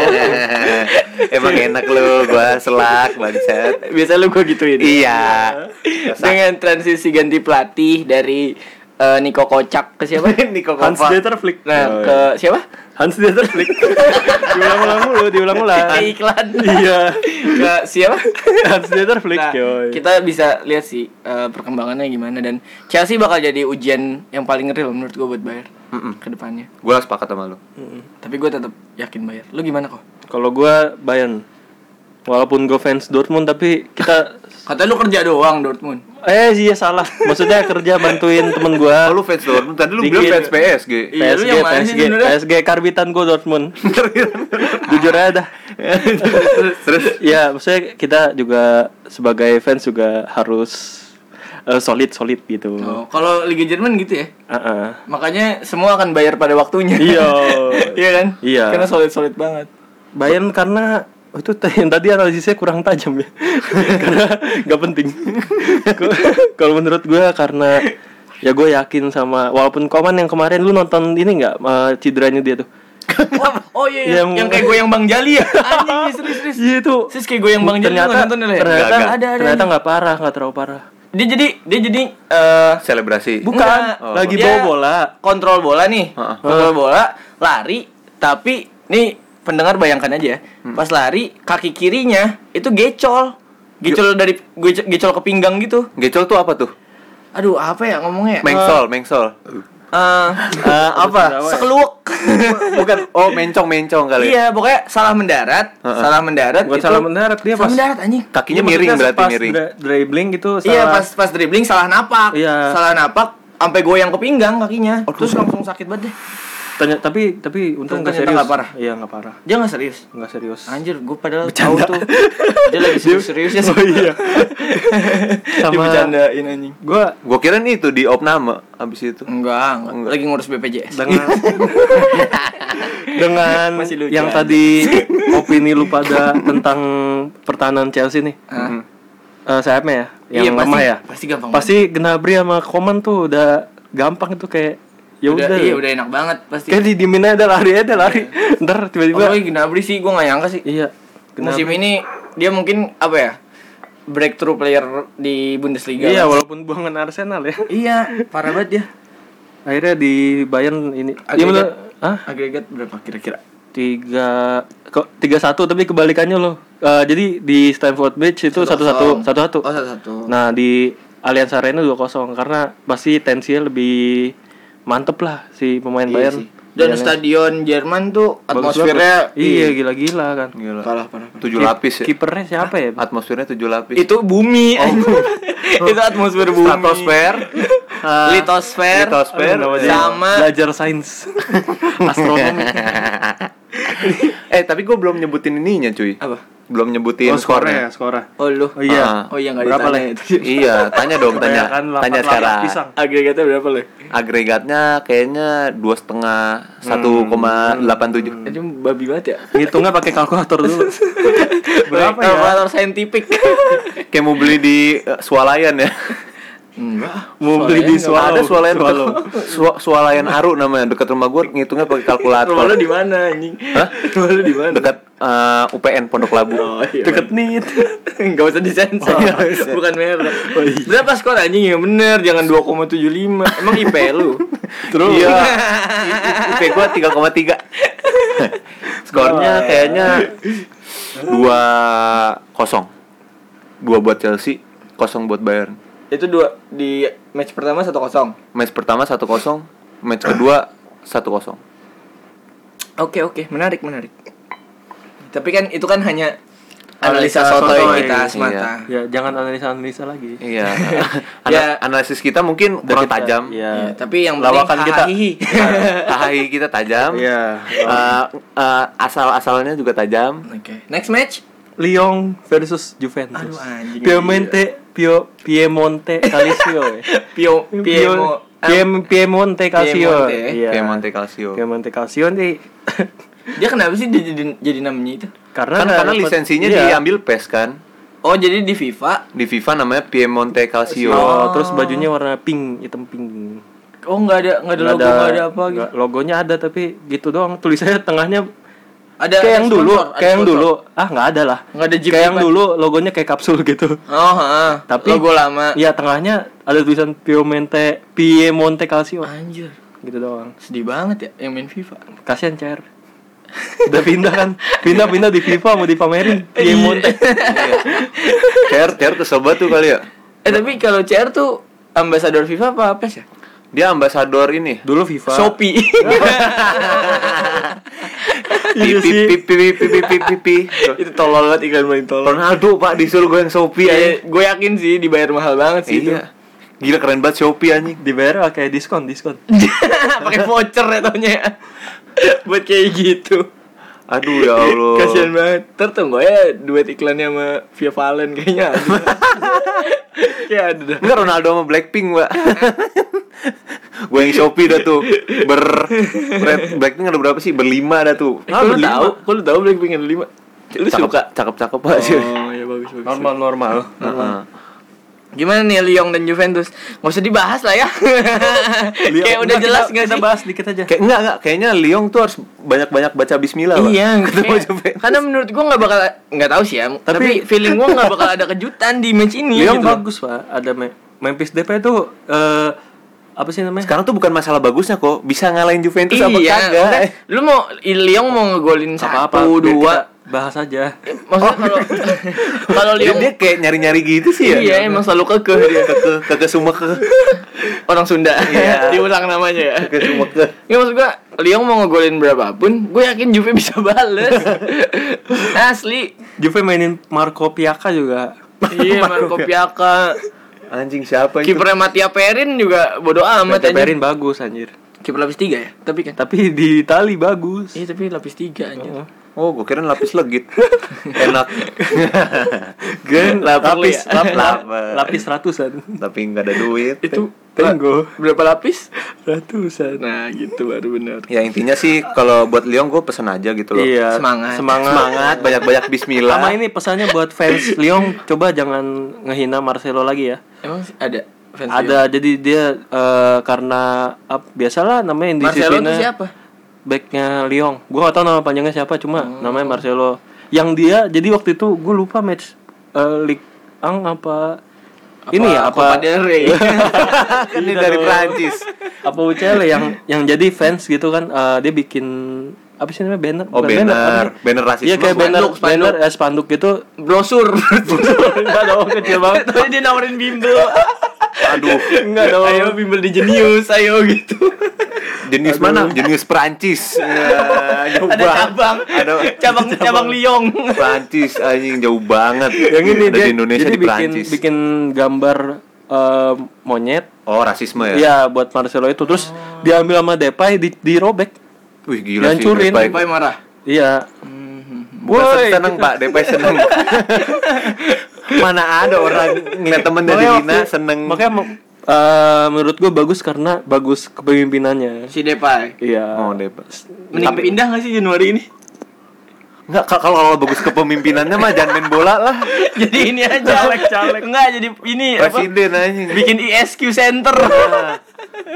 C: Emang enak lu, gua selak bangsat.
B: biasa lu gua gituin
C: Iya.
B: dengan transisi ganti pelatih dari eh, Niko Kocak ke siapa Niko
A: Hans Dieter Flick.
B: nah
A: Oh,
B: ke
A: iya.
B: siapa
A: Hans Dieter Flick. diulang-ulang mulu, diulang-ulang.
B: ke iklan
A: iya.
B: ke siapa
A: Hans Dieter Flick.
B: Nah,
A: yoi.
B: kita bisa lihat sih eh, perkembangannya gimana dan Chelsea bakal jadi ujian yang paling real menurut gue buat Bayern
C: Mm-mm.
B: ke depannya.
C: Gua sepakat sama lu.
B: Tapi gue tetap yakin Bayern. Lu gimana kok?
A: Kalau gua Bayern. Walaupun gue fans Dortmund tapi kita
B: Kata lu kerja doang Dortmund.
A: eh iya salah. Maksudnya kerja bantuin temen
C: Oh,
A: gua.
C: lu fans Dortmund. Tadi lu
A: Nah, Dikit.
C: bilang fans PSG.
B: Iya, lu
A: PSG,
B: yang mana sih
A: PSG,
B: sebenarnya?
A: PSG karbitan gue Dortmund. Jujur aja dah.
C: Terus
A: Ya, maksudnya kita juga sebagai fans juga harus eh, solid solid gitu.
B: Oh, kalau Liga Jerman gitu ya.
A: Heeh.
B: Makanya semua akan bayar pada waktunya.
A: Iya.
B: iya kan?
A: Iya.
B: Karena solid-solid banget.
A: Bayern karena oh, itu t- yang tadi analisisnya kurang tajam ya. karena nggak penting. Ko- Kalau menurut gue karena ya gue yakin sama walaupun Koman yang kemarin lu nonton ini nggak eh, cederanya dia tuh.
B: Oh, oh iya, iya.
A: Yang-
B: yang kayak goyang Bang Jali ya. Anjing, serius serius.
A: Iya itu.
B: Sis kayak goyang Bang Jali lu nggak
A: ternyata
B: nonton dulu ya?
A: ternyata
C: Gagal.
B: ada ada.
A: ternyata nggak parah nggak terlalu parah.
B: Dia jadi dia jadi eh
C: selebrasi.
A: Bukan, lagi
B: Dia
A: bawa bola.
B: Kontrol bola nih.
C: Heeh.
B: Kontrol bola, lari, tapi nih pendengar bayangkan aja ya.
A: Hmm.
B: Pas lari kaki kirinya itu gecol. Gecol dari gecol, gecol ke pinggang gitu.
C: Gecol tuh apa tuh?
B: Aduh, apa ya ngomongnya? Eh
C: Mengsol, mengsol.
B: eh,
A: Jawa
B: apa?
A: ya?
B: Sekeluk.
C: Bukan. Oh, mencong, mencong kali.
B: iya, pokoknya salah mendarat,
C: Heeh.
B: salah mendarat
A: Bukan
B: itu-
A: salah mendarat, dia
B: salah
A: pas-
B: mendarat anjing.
C: Kakinya
A: Iya,
C: miring
A: maksudnya
C: berarti
A: pas
C: miring.
A: dra- dribbling itu salah.
B: Iya, pas pas dribbling salah napak.
A: Iya.
B: Salah napak sampai goyang ke pinggang kakinya. Terus langsung sakit banget deh.
A: Tanya- tapi tapi untung nggak
B: ternyata
A: serius.
B: nggak parah.
A: Iya nggak parah.
B: Dia nggak serius.
A: Nggak serius.
B: Anjir, gue padahal tahu tuh dia lagi ya. serius-seriusnya
A: Oh iya. Sama-
B: dibercandain anjing.
A: Gue
C: Gua kira nih itu di opname abis itu.
B: Enggak, enggak,
C: Enggak.
B: lagi ngurus BPJS.
A: dengan dengan
B: Masih lucu
A: yang
B: aja.
A: tadi opini lu pada tentang pertahanan Chelsea nih.
B: Hah?
C: Hmm,
A: Eh, sayapnya ya, yang
B: Iya, pasti-
A: lemah ya.
B: pasti gampang
A: Pasti Gnabry sama Koman tuh udah gampang itu kayak ya
B: udah,
A: udah.
B: iya, udah enak banget pasti.
A: Kayak di dimin aja lari aja lari. Ntar tiba-tiba
B: Apalagi Gnabry sih gue gak nyangka sih.
A: iya. Gnabry.
B: Musim ini dia mungkin apa ya? Breakthrough player di Bundesliga.
A: Iya, walaupun buangan Arsenal ya.
B: Iya, parah banget dia.
A: Akhirnya di Bayern ini.
B: Agregat.
A: Iya bener. Hah?
B: Agregat berapa kira-kira?
A: tiga kok tiga satu tapi kebalikannya loh Eh, jadi di Stamford Bridge itu satu satu satu satu
B: Oh, satu-satu.
A: nah di Allianz Arena dua kosong karena pasti tensinya lebih mantep lah si pemain
B: Iya
A: Bayern
B: sih. Dan stadion Jerman tuh
A: Bagus
B: atmosfernya
A: banget. iya gila-gila kan
C: Gila.
B: parah parah. parah.
C: Tujuh lapis ya.
A: kipernya siapa ya
C: Atmosfernya tujuh lapis.
B: Itu bumi. itu atmosfer bumi.
C: Stratosfer.
A: Ah,
B: litosfer,
C: litosfer,
A: aduh, namanya
B: sama
A: belajar sains astronomi
C: eh, tapi gua belum nyebutin ininya, cuy.
B: apa?
C: Belum nyebutin skornya.
A: skornya ya,
B: Oh lu.
A: oh iya
C: Ah.
B: Oh iya enggak
A: Berapa,
B: ditanya
A: Le?
B: itu.
C: iya, tanya dong, tanya.
A: Kebanyakan lapak-
C: Tanya
A: lapak
C: sekarang.
A: pisang.
B: Agregatnya berapa lu?
C: Agregatnya kayaknya dua setengah, satu koma delapan tujuh.
B: Itu babi banget ya.
A: ngitungnya pakai kalkulator dulu berapa ya
B: Kalkulator saintifik.
C: Kayak mau beli di eh, Swalayan ya.
B: Enggak.
A: mau beli di
B: Soalnya
A: Swallow
C: Ada Swalayan dekat,
A: Swallow.
C: Swa- Swalayan Aru namanya dekat rumah gua ngitungnya pakai
B: nggak- Rumah lu
C: kalkulator.
B: di mana anjing?
C: Hah?
B: Rumah lu di mana?
C: Dekat eh, UPN Pondok Labu.
B: Oh iya.
A: deket nit
B: Enggak usah
A: Oh,
B: disensor.
A: iya,
B: Bukan merek. Berapa skor anjing? Ya bener, jangan 2,75. Emang IP lu.
A: Terus?
C: Iya. IP gua 3,3.
A: Wah.
C: Skornya kayaknya 2-0. 2 buat Chelsea, 0 buat Bayern.
B: Itu dua di match pertama 1-0.
C: Match pertama 1-0, match kedua 1-0.
B: Oke oke, menarik menarik. Tapi kan itu kan hanya
A: Analisa
B: analisa sotoy
A: sotoy,
B: kita
A: iya.
B: semata.
A: ya jangan analisa analisa lagi
C: Iya.
B: Ya.
C: Ana- Analisis kita mungkin kurang
A: Kita-
C: tajam.
A: iya
B: Iya, tapi yang
C: Lawakan
B: penting
C: kita.
B: hahihi.
C: Hahaha, kita tajam.
A: Iya.
C: Eh, eh, asal-asalnya juga tajam.
B: Oke. Next match?
A: Lyon versus Juventus
B: Aduh, anjing.
A: Piemonte Pio Piemonte Calcio ya.
B: Pio
A: Pio
B: Piemo
A: Piem, Piemonte Calcio
B: Piemonte.
A: Iya.
C: Kayak Monte Calcio.
A: Piemonte Calcio nih
B: Dia kenapa sih dia jadi, jadi namanya itu?
A: Karena
C: Kan
A: nggak
C: karena
A: dapet-
C: lisensinya
A: iya.
C: diambil PES kan.
B: Oh jadi di FIFA?
C: Di FIFA namanya Piemonte Calcio.
A: Oh, terus bajunya warna pink, hitam pink.
B: Oh nggak ada nggak ada
A: Nggak
B: logo nggak ada apa gitu.
A: nggak- Logonya ada tapi gitu doang. Tulisannya tengahnya
B: Ada
A: kayak
B: ada
A: yang
B: sponsor,
A: dulu,
B: ada
A: kayak yang
B: sponsor.
A: dulu. Ah, nggak ada lah.
B: Nggak ada jeep
A: Kayak yang
B: jeepan.
A: dulu logonya kayak kapsul gitu.
B: Oh, heeh.
A: Tapi
B: logo lama.
A: Iya, tengahnya ada tulisan Piemonte Piemonte Calcio
B: Anjir,
A: gitu doang.
B: sedih banget ya yang main FIFA.
A: Kasihan CR. Udah pindah kan? Pindah-pindah di FIFA mau dipamerin
B: Iya.
A: Piemonte.
C: CR CR kesel banget tuh kali ya.
B: Eh tapi kalau CR tuh ambasador FIFA apa PES ya?
C: Dia ambasador ini.
A: Dulu FIFA.
B: Shopee.
A: Iya sih.
C: Pipi pipi pipi pipi pipi.
B: Itu tolol banget iklan main tolol.
C: Ronaldo Pak disuruh goyang Shopee
B: Iya,
C: anjing.
B: gue yakin sih dibayar mahal banget sih itu.
C: Iya. Gila keren banget Shopee anjing.
A: Dibayar kayak diskon, diskon.
B: Pakai voucher ya taunya ya. Buat kayak gitu.
C: Aduh ya Allah.
B: Kasian banget. Tertunggu ya duet iklannya sama Via Valen kayaknya. ada. Kayak ada dah.
C: Enggak Ronaldo sama Blackpink, Mbak. gue yang Shopee dah tuh ber Red- Blackpink ada berapa sih berlima dah tuh
B: Eh, kok lu tahu? Kok lu tahu Blackpink ada lima? Lu suka?
C: cakep cakep pak sih
B: Oh, ya bagus bagus.
A: normal.
C: Heeh.
B: Gimana nih Lyon dan Juventus? Gak usah dibahas lah ya. Kayak udah jelas
A: nggak
B: nggak
A: kita
B: sih?
A: bahas dikit aja.
C: kayak enggak enggak kayaknya Lyon tuh harus banyak banyak baca Bismillah Pak.
B: Iya,
C: ketemu
B: kayak-
C: Juventus.
B: karena menurut gua nggak bakal nggak tahu sih ya. Tapi, feeling gua nggak bakal ada kejutan di match ini.
A: Lyon
B: gitu.
A: bagus pak, ada Me- Memphis Depay itu eh apa sih namanya?
C: sekarang tuh bukan masalah bagusnya kok bisa ngalahin Juventus
B: Iya,
C: apa kagak
B: maksudnya lu mau Lyon mau ngegolin
A: Apa apa?
B: satu dua.
A: bahas aja.
B: Maksudnya kalau kalau
C: dia,
B: Lyon
C: dia kayak nyari nyari gitu sih ya
B: iya emang selalu kekeh dia
C: ke ke semua ke
B: orang Sunda.
C: Iya.
B: Diulang namanya ya.
C: ke semua ke
B: Ya maksud gua, Lyon mau ngegolin berapapun, gue yakin Juve bisa bales. Asli.
A: Juve mainin Marco Piaka juga.
B: Iya, Marco Piaka.
C: anjing siapa itu
B: Kipernya Mattia Perin juga bodo amat
A: Mata
B: anjing.
A: Perin bagus anjir.
B: Kiper lapis 3 ya? Tapi kan.
A: Tapi di Itali bagus.
B: Iya, tapi lapis 3 anjir.
A: Oh.
C: oh gue kira lapis legit enak
A: Gen
C: Lapar lu
A: lapis
C: ya?
A: lap- lap-
C: Lapar.
A: lapis ratusan.
C: tapi nggak ada duit
B: Itu
A: Tenggo.
B: la- berapa lapis?
A: Ratusan.
B: Nah, gitu baru benar.
C: ya intinya sih kalau buat Lyon gue pesen aja gitu loh
A: Iya.
B: Semangat.
A: Semangat.
C: semangat banyak banyak Bismillah
A: Sama ini pesannya buat fans Lyon coba jangan ngehina Marcelo lagi ya.
B: Emang sih ada fans
A: ada jadi dia eh, karena ap- biasalah namanya
B: Lyon?
A: Indi
B: Marcelo
A: Sisina,
B: itu siapa?
A: backnya Lyon gua gak tau nama panjangnya siapa cuma namanya Marcelo yang dia jadi waktu itu gue lupa match eh, Ligue ang apa, ini ya
B: Copa
A: apa
B: del Rey.
A: Kan
C: ini dari Prancis
A: apa UCL ya, yang yang jadi fans gitu kan eh, dia bikin apa sih namanya banner
C: Oh,
A: Bukan
C: banner.
A: apa sih?
C: Banner rasisme.
A: iya kayak
B: Spanduk,
A: banner
B: spanduk.
A: banner eh, spanduk gitu
B: Brosur.
A: Enggak dong kecil banget
B: Tadi dia nawarin bimbel.
C: aduh
A: Enggak dong
B: Ayo bimbel di Jenius, ayo gitu.
C: jenius mana jenius Prancis ya, jauh
B: Ada
C: banget.
B: cabang.
C: ada
B: Cabang cabang Lyon.
C: Prancis anjing jauh banget
A: yang ini
C: Ada
A: dia
C: di Indonesia
A: jadi
C: di
A: bikin
C: Prancis
A: bikin gambar eh, monyet
C: oh rasisme ya
A: Iya buat Marcelo itu terus diambil sama Depay di dirobek.
C: wih gila sih
A: Dihancurin.
C: Depay
B: Depay marah.
A: Iya.
B: Hmm,
C: bukan
A: Woi.
C: seneng pak Depay seneng mana ada orang ngeliat temen dari
A: Makanya
C: Dina
A: waktu-
C: seneng
A: Makanya mau- eh, menurut gue bagus karena bagus kepemimpinannya.
B: Si Depay.
A: Iya.
C: oh Depay
B: Mending pindah gak sih Januari ini?
C: Enggak, kalau kalau bagus kepemimpinannya mah jangan main bola lah
B: jadi ini aja. Caleg-caleg. Enggak, jadi ini
A: Iya,
B: apa?
C: Presiden anjing
B: Bikin ISQ Center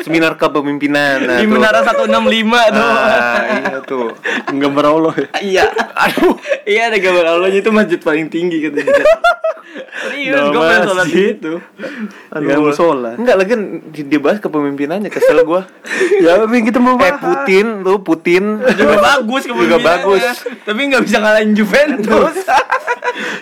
C: Seminar kepemimpinan nah,
B: di
C: tuh.
B: Menara 165 tuh.
C: Ah, iya tuh
A: Gambar Allah ya.
B: Iya. Aduh. Iya ada gambar Allah itu masjid paling tinggi katanya. Serius,
A: Nama
B: gue pernah sholat di
A: masjid.
B: situ.
A: Kayak musola.
C: Iya, Enggak lagi dia bahas kepemimpinannya kesel gua.
A: ya tapi kita mau
C: eh
A: bahas. Gitu
C: Putin tuh Putin
B: Juga bagus
C: Juga
B: kepemimpinannya.
C: bagus.
B: Tapi nggak bisa ngalahin Juventus.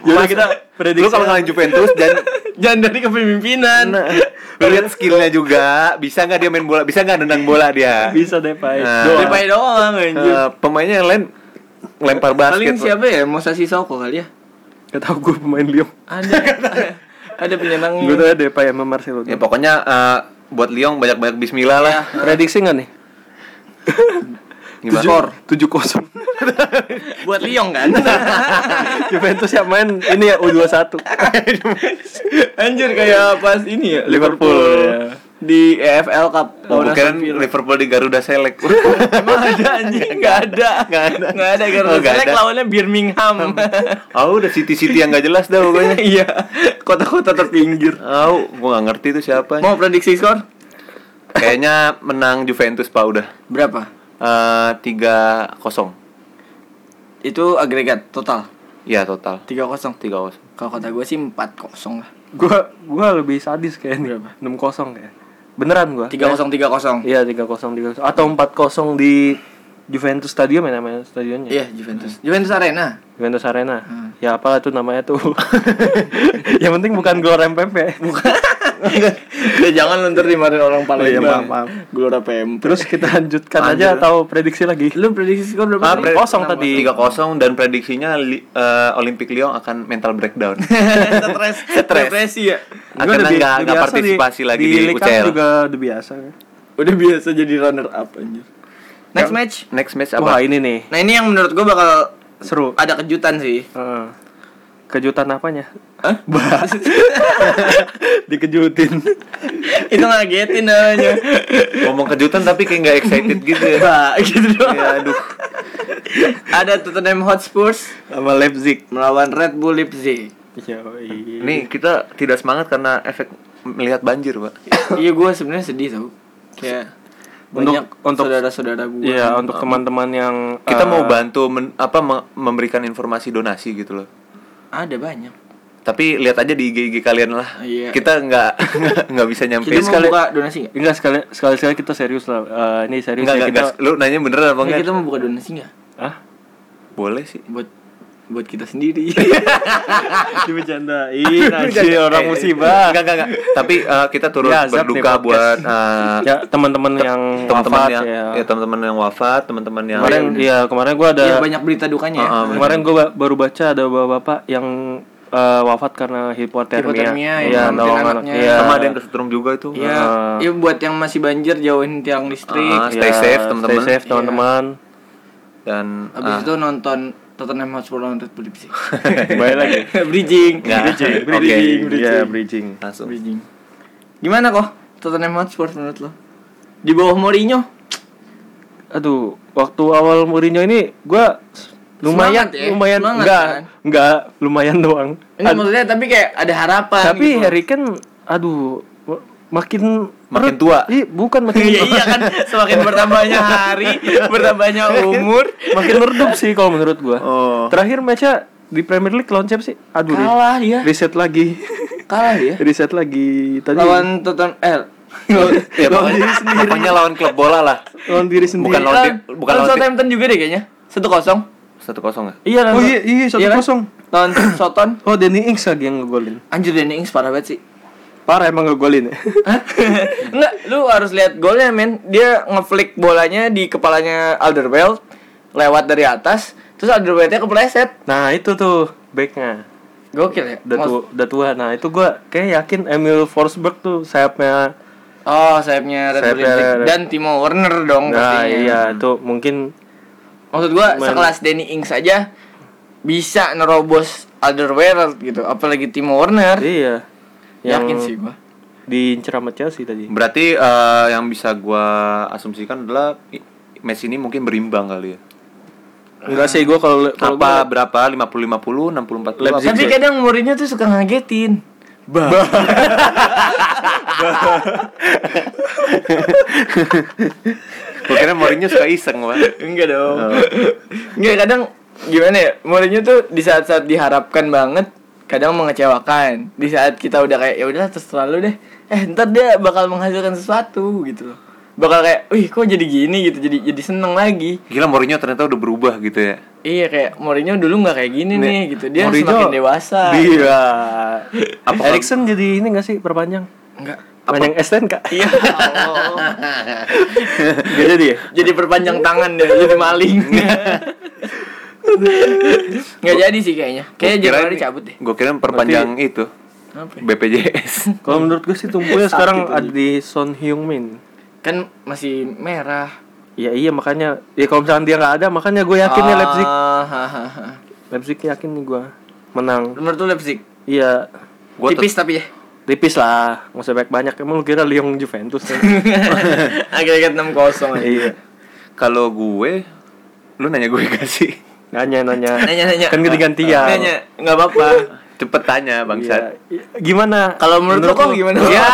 A: Yaudah, kita prediksi. ya.
C: Lu kalau ngalahin Juventus dan
B: Jangan dari kepemimpinan.
C: Nah, lu lihat skillnya juga, bisa nggak dia main bola? Bisa nggak nendang bola dia?
A: bisa Depay.
C: Nah.
A: Doa.
B: Depay doang anjir.
C: Eh, pemainnya yang lain lempar
B: Paling
C: basket.
B: siapa ya? Musa Sissoko kali ya?
A: Gak tau gue pemain Lyon.
B: Ada. ada penyerang
A: Gue tau Depay sama Marcelo.
C: Ya pokoknya eh, buat Lyon banyak-banyak
A: Iya.
C: bismillah lah.
A: Prediksi nggak nih?
C: Gimana?
A: tujuh kosong.
B: buat Lyon kan.
A: Juventus yang main ini ya U21
B: Anjir kayak pas ini ya
A: Liverpool. ya.
B: di EFL Cup
C: iya. Oh,
B: lawan
C: bukan
B: Aston Villa.
C: Liverpool di Garuda Select.
B: Emang ada anjing? Gak ada
C: Nggak ada.
B: Gak ada Garuda
C: Oh, nggak
B: Select
C: ada.
B: lawannya Birmingham
C: Oh, udah city-city yang gak jelas dah pokoknya.
B: Iya Kota-kota terpinggir
C: Oh, gua gak ngerti itu siapa.
B: Mau prediksi skor?
C: Kayaknya menang Juventus Pak udah. Eh,
B: Berapa?
C: Tiga kosong.
B: Itu agregat total
C: Iya total.
B: 3-0
C: Tiga kosong.
B: Kalau kata gue sih 4-0 lah
A: Gua gua lebih sadis kayaknya.
B: Berapa?
A: 6-0 kayak. Beneran gua.
B: 3-0 3-0
A: Iya 3-0 3 atau 4-0 di Juventus Stadium ya namanya stadionnya.
B: Iya Juventus Juventus Arena
A: Juventus Arena.
B: Hmm.
A: Ya apalah tuh namanya tuh. yang penting bukan gol MPP.
B: Ya jangan lu ntar dimarin orang Palembang
A: iya, maaf, maaf.
B: Gelora PM
A: Terus kita lanjutkan aja
C: Lanjut.
A: atau prediksi lagi?
B: Lu prediksi skor berapa?
A: Ah,
B: tadi?
A: pre- kosong tadi.
C: Tiga kosong dan prediksinya li, eh, Olympic Lyon akan mental breakdown.
B: Stres
C: Stres.
B: Depresi ya
A: Gua
C: Akan
A: udah bi-
C: nggak
A: udah
C: nggak
A: biasa
C: partisipasi lagi di,
A: League Cup
C: UCL.
A: juga udah biasa.
B: Udah biasa jadi runner up anjir Next match
C: Next match
A: Wah
C: apa?
A: ini nih
B: Nah ini yang menurut gue bakal
A: seru.
B: ada kejutan sih
A: Heeh. kejutan apanya?
B: Hah?
A: Bah. Dikejutin.
B: Itu ngagetin namanya
C: Ngomong kejutan tapi kayak nggak excited gitu ya.
B: Bah, gitu doang
C: ya aduh.
B: Ada Tottenham Hotspurs
A: Sama Leipzig.
B: melawan Red Bull Leipzig
A: Yoi.
C: Nih kita tidak semangat karena efek melihat banjir pak.
B: Iya gue sebenarnya sedih tau Kayak
A: Untuk-
B: banyak
A: untuk-
B: saudara-saudara gue
A: Iya, untuk teman-teman yang
C: Kita
A: eh,
C: mau bantu men- apa me- memberikan informasi donasi gitu loh.
B: Ada banyak
C: Tapi lihat aja di IG, kalian lah.
B: Iya.
C: Kita nggak nggak bisa
B: Kita
C: nyampein
B: mau
A: sekali-
B: buka donasi nggak?
A: Enggak sekali sekali sekali kita serius lah. Eh, ini serius
C: Enggak,
A: ya
C: enggak,
A: kita.
C: enggak. Lu nanya beneran apa
B: Nggak,
C: enggak?
B: Kita mau buka donasi nggak?
A: Hah?
C: Boleh sih.
B: Buat buat kita sendiri Iya,
A: Dibecandain
C: Jangan-
A: orang
C: eh,
A: musibah.
C: Enggak, enggak, enggak. Tapi eh, kita turut
A: Biasa Ya, nih
C: berduka
A: podcast.
C: buat eh,
A: Ya, teman-teman yang
C: teman-teman
A: wafat
C: yang
A: ya.
C: ya, teman-teman yang wafat, teman-teman yang
A: Kemarin ya, kemarin gua ada
B: Iya banyak berita dukanya ya
C: Ah, ah.
A: kemarin gua ba- baru baca ada bapak-bapak yang eh, wafat karena hipotermia.
B: Hipotermia, ya,
A: Iya,
B: nyelamatin
A: nolong
B: anaknya.
A: anak- iya.
C: sama ada yang kesetrum juga itu.
B: Iya, iya buat yang masih banjir jauhin tiang
C: Ah,
B: listrik.
C: stay
A: Iya,
C: safe, teman-teman.
A: Stay safe teman-teman.
C: Dan
B: Abis
C: ah,
B: itu nonton Tottenham Hotspur lawan Red Bull Leipzig.
A: Baik lagi.
B: bridging.
C: Nggak.
A: Bridging,
C: Oke.
A: bridging,
C: Iya,
A: bridging. bridging.
C: langsung.
B: Bridging. Gimana kok Tottenham Hotspur menurut lo? Di bawah Mourinho?
A: Aduh, waktu awal Mourinho ini gua lumayan
B: Semangat ya,
A: lumayan
B: semangat
A: enggak
B: kan?
A: enggak lumayan doang.
B: Ini maksudnya tapi kayak ada harapan
A: Tapi
B: gitu.
A: Harry Kane aduh ma- makin
C: Makin
A: perut.
C: tua.
A: Ih, bukan makin
B: Iya iya kan semakin bertambahnya hari, bertambahnya umur.
A: makin meredup sih kalau menurut gua.
C: Oh.
A: Terakhir matchnya di Premier League lawan siapa sih? Aduh. ri-
B: Kalah dia.
A: Reset lagi.
B: Kalah dia.
A: Reset lagi tadi.
B: Lawan Tottenham eh
C: Ya, pokoknya, pokoknya lawan klub bola lah.
A: lawan diri sendiri.
C: Bukan lawan di-
B: lawan
C: bukan lawan di-
B: Iya. Southampton juga deh kayaknya. 1-0.
C: 1-0 enggak?
A: Iya,
B: Oh,
A: lawan-
B: iya, iya,
A: iya kan?
B: 1-0. Lawan Soton.
A: Oh, Danny Ings lagi yang ngegolin.
B: Anjir Danny Ings parah banget sih.
A: Parah emang ngegolin ya.
B: Hah? Enggak, lu harus lihat golnya men. Dia ngeflick bolanya di kepalanya Alderweireld lewat dari atas, terus Alderweireld-nya kepleset.
A: Nah, itu tuh backnya.
B: Gokil ya.
A: Udah
B: Mas-
A: tua, udah tua. Nah, itu gua kayak yakin Emil Forsberg tuh sayapnya
B: Oh, sayapnya Red Bull
A: Sayapnya
B: Leipzig.
A: Red-
B: dan Timo Werner dong
A: Nah,
B: pastinya.
A: iya, itu mungkin
B: Maksud gua
A: Cuman-
B: sekelas Danny Ings aja bisa nerobos Alderweireld gitu, apalagi Timo Werner.
A: iya.
B: Yakin sih gua.
A: diincar sama Chelsea tadi.
C: Berarti eh, yang bisa gua asumsikan adalah i- match ini mungkin berimbang kali ya.
A: Enggak sih gua kalau kalau gua-
C: Apa berapa? 50-50, 60-40
A: Leipzig.
B: Tapi
C: apa?
B: Kan kadang Mourinho tuh suka ngagetin.
C: Gua kira Mourinho suka iseng, Pak.
B: Enggak dong. Oh. Enggak kadang gimana ya? Mourinho tuh di saat-saat diharapkan banget kadang mengecewakan. Di saat kita udah kayak ya udahlah terserah lu deh. Eh, ntar dia bakal menghasilkan sesuatu gitu loh. Bakal kayak, "Wih, kok jadi gini?" gitu. Jadi jadi seneng lagi.
C: Gila Mourinho ternyata udah berubah gitu ya.
B: Iya kayak Mourinho dulu nggak kayak gini nih, gitu. Dia
A: Mourinho-
B: semakin dewasa.
A: Iya.
C: Apa-
A: Erikson jadi ini enggak sih perpanjang?
B: Enggak.
A: Perpanjang STNK.
B: Iya.
A: Enggak jadi ya?
B: jadi perpanjang tangan deh, jadi maling. Nggak jadi sih kayaknya. Kayaknya Januari cabut deh.
C: Gue kira perpanjang itu
B: Apa ya?
C: BPJS.
A: Kalau menurut gue sih tumpunya sekarang ada di Son Heung-min.
B: kan masih merah.
A: Ya iya makanya ya kalau misalkan dia nggak ada makanya gue yakin ya
B: Ah,
A: Leipzig.
B: ha, ha, ha.
A: Leipzig yakin nih gue menang.
B: Menurut Ah. lu Leipzig?
A: Iya.
C: Gua
B: Tipis tapi ya.
A: tipis lah nggak usah banyak banyak emang lu kira Lyon Juventus kan?
B: Agregat 6-0 aja.
A: iya
C: Kalau gue, lu nanya gue kasih.
A: nanya nanya
B: Nanya-nanya.
A: kan ganti gantian
B: Nanya, enggak apa-apa.
C: Cepet tanya bangsat.
A: Iya. Gimana?
B: Kalau menurut Iya. lo kok gimana?
C: Ya.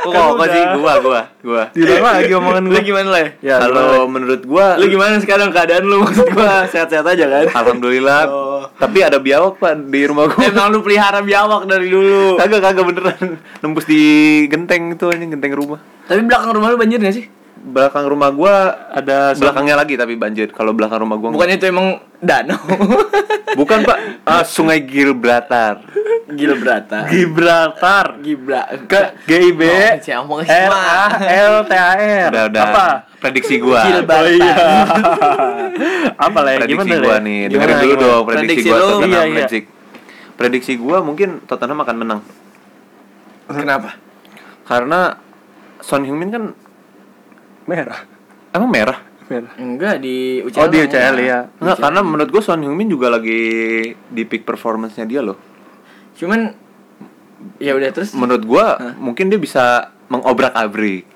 C: Kok
A: Kan
C: kok
A: udah. Iya,
C: sih gua gua gua.
A: Diulang lagi omongan
B: Lu
A: gue.
B: gimana lah?
A: Ya,
C: Kalau menurut gua
B: Lu gimana sekarang keadaan lu maksud gua? Sehat-sehat aja kan?
C: Alhamdulillah.
B: Oh.
C: Tapi ada biawak Pak di rumah gua.
B: Emang lu pelihara biawak dari dulu.
C: Kagak kagak beneran nembus di genteng itu anjing genteng rumah.
B: Tapi belakang rumah lu banjir gak sih?
C: Belakang rumah gua
A: ada belakang
C: belakangnya lagi tapi banjir. Kalau belakang rumah gua
B: Bukan itu emang danau.
C: Bukan, Pak. Ah, Sungai Gilbratar.
B: Gila berata.
A: Gibraltar.
B: Gibla.
A: Ke G I B
B: Oh, si Among Isma.
A: R A L T A R.
C: Udah udah.
A: Apa?
C: Prediksi gua.
B: Gilbratar.
A: Oh iya. Apa lah ya?
C: prediksi
A: Gimana
C: gua
A: ya?
C: nih
A: Gimana,
C: dengerin dulu
A: gimana?
C: dong prediksi,
B: Prediksi
C: gua
B: lu,
C: Tottenham
A: iya, iya.
C: prediksi prediksi gua mungkin Tottenham akan menang
B: Kenapa?
C: karena Son Heung-min kan
A: Merah.
C: emang merah
A: Merah.
B: Enggak di UCL.
A: Oh di
B: enggak.
A: UCL ya.
C: Enggak, karena menurut gua Son Heung-min juga lagi di peak performance-nya dia loh
B: Cuman ya udah terus
C: menurut gua mungkin dia bisa mengobrak-abrik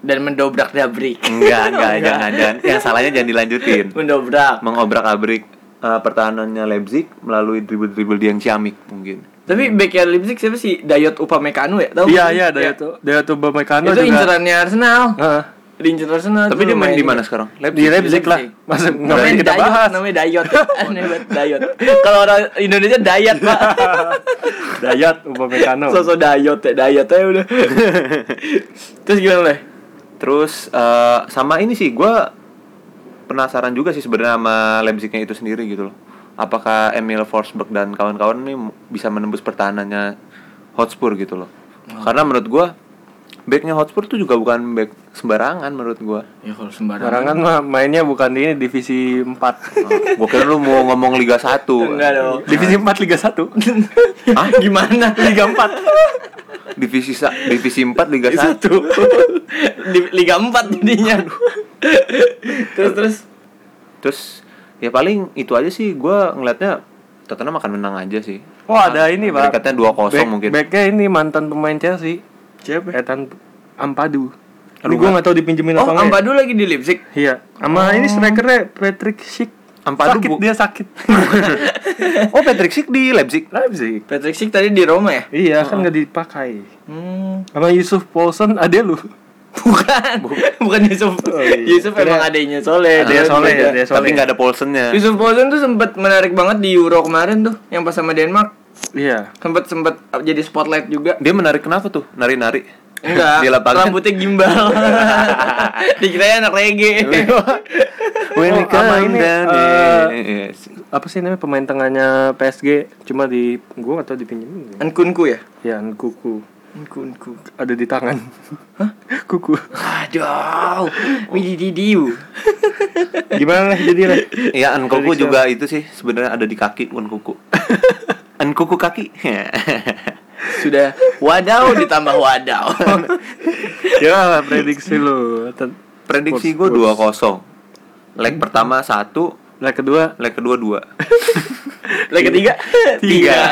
B: dan mendobrak dabrik.
C: enggak enggak jangan jangan yang salahnya jangan dilanjutin
B: Mendobrak.
C: mengobrak-abrik eh, pertahanannya Leipzig melalui dribble-dribble dia yang ciamik mungkin
B: Tapi backnya Leipzig siapa sih? Dayot Upamecano ya? Tahu
A: Hmm. Iya
B: nggak sih?
A: iya dari itu dari itu Bamekano
B: Itu
A: juga.
B: incerannya Arsenal.
A: Heeh.
B: Di inceran Arsenal.
C: tapi
B: tuh
C: dia main
B: lumayan
C: di
B: juga.
C: mana sekarang
A: Di Leipzig lah.
B: Leipzig.
A: Masuk
B: namanya
A: namanya kita
B: Dayot,
A: bahas.
B: namanya Dayot. Aneh banget Dayot. Kalau orang Indonesia Dayat, Pak.
A: Dayat Upamecano.
B: Sosok Dayot ya, Dayot aja udah. Terus gimana, Le?
C: Terus eh, sama ini sih gua penasaran juga sih sebenarnya sama Leipzignya itu sendiri gitu loh. Apakah Emil Forsberg dan kawan-kawan ini m- bisa menembus pertahanannya Hotspur gitu loh.
B: Hmm.
C: Karena menurut gua backnya Hotspur tuh juga bukan back sembarangan menurut gua.
B: Ya kalau sembarangan.
A: Barangan mah mainnya bukan di ini divisi 4.
C: Gua kira lu mau ngomong Liga 1.
B: Enggak dong.
A: Divisi 4 Liga 1.
B: Hah? Gimana? Liga 4.
C: Divisi sa- divisi 4 Liga 1.
B: Satu. Di Liga 4 jadinya. terus terus
C: Terus ya paling itu aja sih gua ngelihatnya Tottenham akan menang aja sih.
A: Oh ada ini pak.
C: Peringkatnya 2-0
A: Back-
C: mungkin.
A: Backnya ini mantan pemain Chelsea.
B: Siapa?
A: Ethan Ampadu. Ini
C: Aduh,
A: gue nggak tahu dipinjemin
B: Oh,
A: apa enggak. ya?
B: Ampadu lagi di Leipzig.
A: Iya. Sama ini strikernya Patrick Schick.
C: Ampadu,
A: sakit
C: Bu.
A: dia sakit.
C: Oh Patrick Schick di Leipzig.
A: Leipzig.
B: Patrick Schick tadi di Roma ya?
A: Iya kan nggak dipakai.
B: Hmm.
A: Sama Yusuf Paulsen ada lu.
B: Bukan. Bukan Yusuf.
A: Oh, iya.
B: Yusuf emang
A: Ada-
B: adanya Soleh.
A: Ada Adanya Soleh,
B: juga.
A: ada Soleh.
C: Tapi nggak ada Paulsennya.
B: Yusuf Poulsen tuh sempat menarik banget di Euro kemarin tuh yang pas sama Denmark
A: Iya.
B: sempat sempat jadi spotlight juga
C: Dia menarik kenapa tuh? Nari-nari.
B: enggak
C: Di lapangan.
B: rambutnya gimbal dikiranya anak reggae
A: Oh, sama ini,
C: down,
A: eh,
C: "Kan, yes.
A: Apa sih namanya pemain tengahnya PSG? Cuma di gue nggak tahu dipinjemin.
B: Ankunku ya
A: Ya kuku
B: Ankunku
A: ada di tangan. Hah? Kuku.
B: aduh Widi Didiu
A: Gimana lah jadi lah.
C: Iya, Nkuku juga itu sih sebenarnya ada di kaki Nkuku. Nkuku kaki.
B: sudah wadaw ditambah wadaw
A: ya prediksi lu. Ten-
C: Prediksi gue 2-0. Leg pertama 1,
A: Nah kedua
C: leg kedua 2.
B: Leg ketiga
C: Tiga.
B: Iya.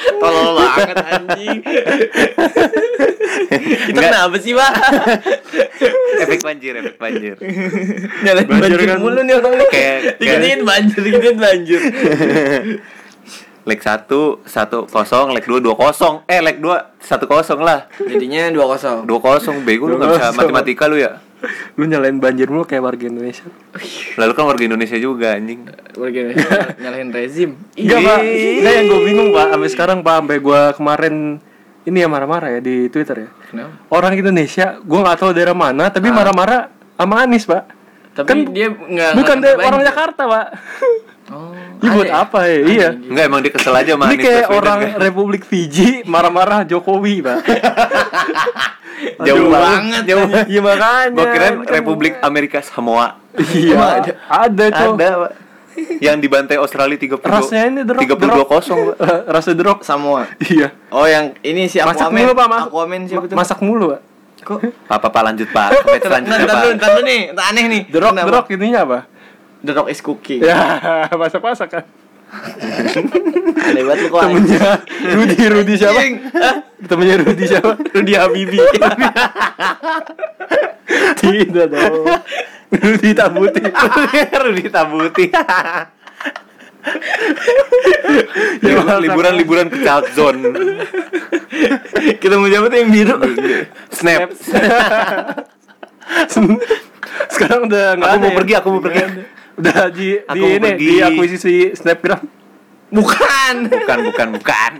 B: Tolol banget anjing Kita kenapa sih pak?
C: efek banjir, efek banjir.
B: Nyalain banjir,
A: Banjir kan.
B: mulu nih orang nih
C: Kayak-
B: Dikit-dikit banjir, dikit-dikit banjir
C: Leg 1 1-0, leg 2 2-0. Eh, leg 2 1-0 lah.
B: Jadinya 2-0
C: 2-0 bego lu enggak bisa
A: 2-0.
C: matematika lu ya.
A: lu nyalain banjir mulu kayak warga Indonesia.
C: Lalu kan warga Indonesia juga anjing.
B: Warga Indonesia nyalahin rezim
A: Enggak
C: Ih.
A: pak, enggak yang gue bingung pak. Sampai sekarang pak, sampai gue kemarin ini ya marah-marah ya di Twitter ya.
B: Kenapa?
A: Orang Indonesia, gue nggak tahu daerah mana, tapi marah-marah sama Anies pak. Kan
B: Tapi Kan dia nggak-
A: bukan Ah.
B: nggak
A: dia
B: banjir.
A: orang Jakarta pak.
B: Oh,
A: Ini buat apa ya? Iya.
C: Enggak emang dia kesel aja
A: Ini
C: sama Anies
A: kayak
C: Baswedan,
A: orang
C: kan?
A: Republik Fiji marah-marah Jokowi pak.
C: jauh
B: Aduh,
C: banget.
B: banget
A: Jauh. Iya makanya.
C: Gua kira
A: bukan-
C: Republik Amerika Samoa.
A: Iya.
B: Emang
A: Ada,
B: ada?
A: tuh.
C: Ada, Pak. Yang dibantai Australia 32
A: Iya, Rasnya ini drop.
C: 32 kosong. Pak.
A: Rasa drop.
B: Samoa
A: Iya.
B: Oh yang ini si
A: Masak
B: Aquaman
A: mulu pak masak.
B: Aquaman siapa tuh?
A: Masak mulu pak.
B: Kok?
C: Pak, Pak, Pak, lanjut, Pak. Ke match
B: Ntar
C: selanjutnya,
B: ntar
C: Pak.
B: dulu, ntar dulu nih, ntar aneh nih
A: Drop
B: Kenapa?
A: drop ininya apa?
B: The Rock is cooking
A: Ya masak masak kan.
B: Aneh banget lu kok anjing.
A: temennya Rudi Rudi siapa Hah? temennya Rudi siapa Rudi Habibi tidak dong Rudi Tabuti
C: Rudi Tabuti.
A: Ya,
C: liburan-liburan ke Calzone.
B: Kita mau siapa tuh yang biru?
C: Snap.
A: sekarang udah nggak
C: Aku
A: ada
C: mau
A: ya?
C: pergi, aku mau pergi.
A: udah di
C: Aku
A: di
C: mau
A: ini
C: pergi.
A: di akuisisi Snapgram
B: Bukan.
C: Bukan, bukan, bukan.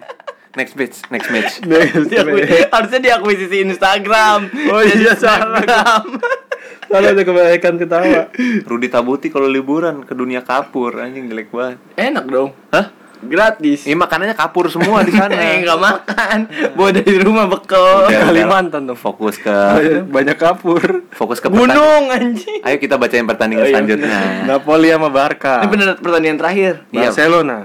C: Next match, next match.
B: Diakui- harusnya diakui sisi Instagram.
A: Oh
B: Jadi
A: iya, salah.
B: Instagram.
A: kalau ada kebaikan ketawa
C: Rudi Tabuti kalau liburan ke dunia kapur anjing jelek banget.
B: Enak dong.
C: Hah?
B: Gratis.
C: Ini makanannya kapur semua di sana.
B: Eh, nggak makan. Bawa dari rumah bekal.
C: Udah.
A: Kalimantan tuh Iya,
C: Fokus
B: Oh, iya.
C: ke
A: banyak kapur
C: fokus ke pertandingan.
B: Gunung anjing.
C: Ayo kita bacain
B: Oh,
C: pertandingan
B: iya,
C: selanjutnya.
A: Nah. Napoli sama Barca
B: Ini bener pertandingan terakhir.
C: Iya.
A: Barcelona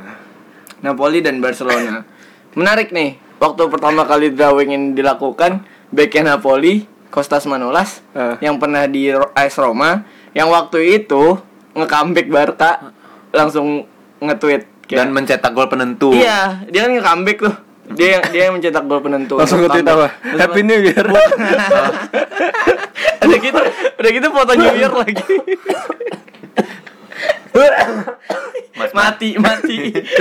B: Napoli dan Barcelona. Menarik nih. Waktu pertama kali drawing ini dilakukan, backnya Napoli, Kostas Manolas,
A: Eh.
B: yang pernah di Ro- AS Roma, yang waktu itu nge-comeback Barca langsung nge-tweet
C: Dan
B: kayak-
C: mencetak gol penentu.
B: Iya, dia kan nge-comeback tuh. Dia yang dia yang mencetak gol penentu.
A: langsung ke
B: Nge-comeback.
A: apa
B: Langsung-
A: Happy New Year
B: udah gitu, udah gitu foto New Year lagi. mati, mati,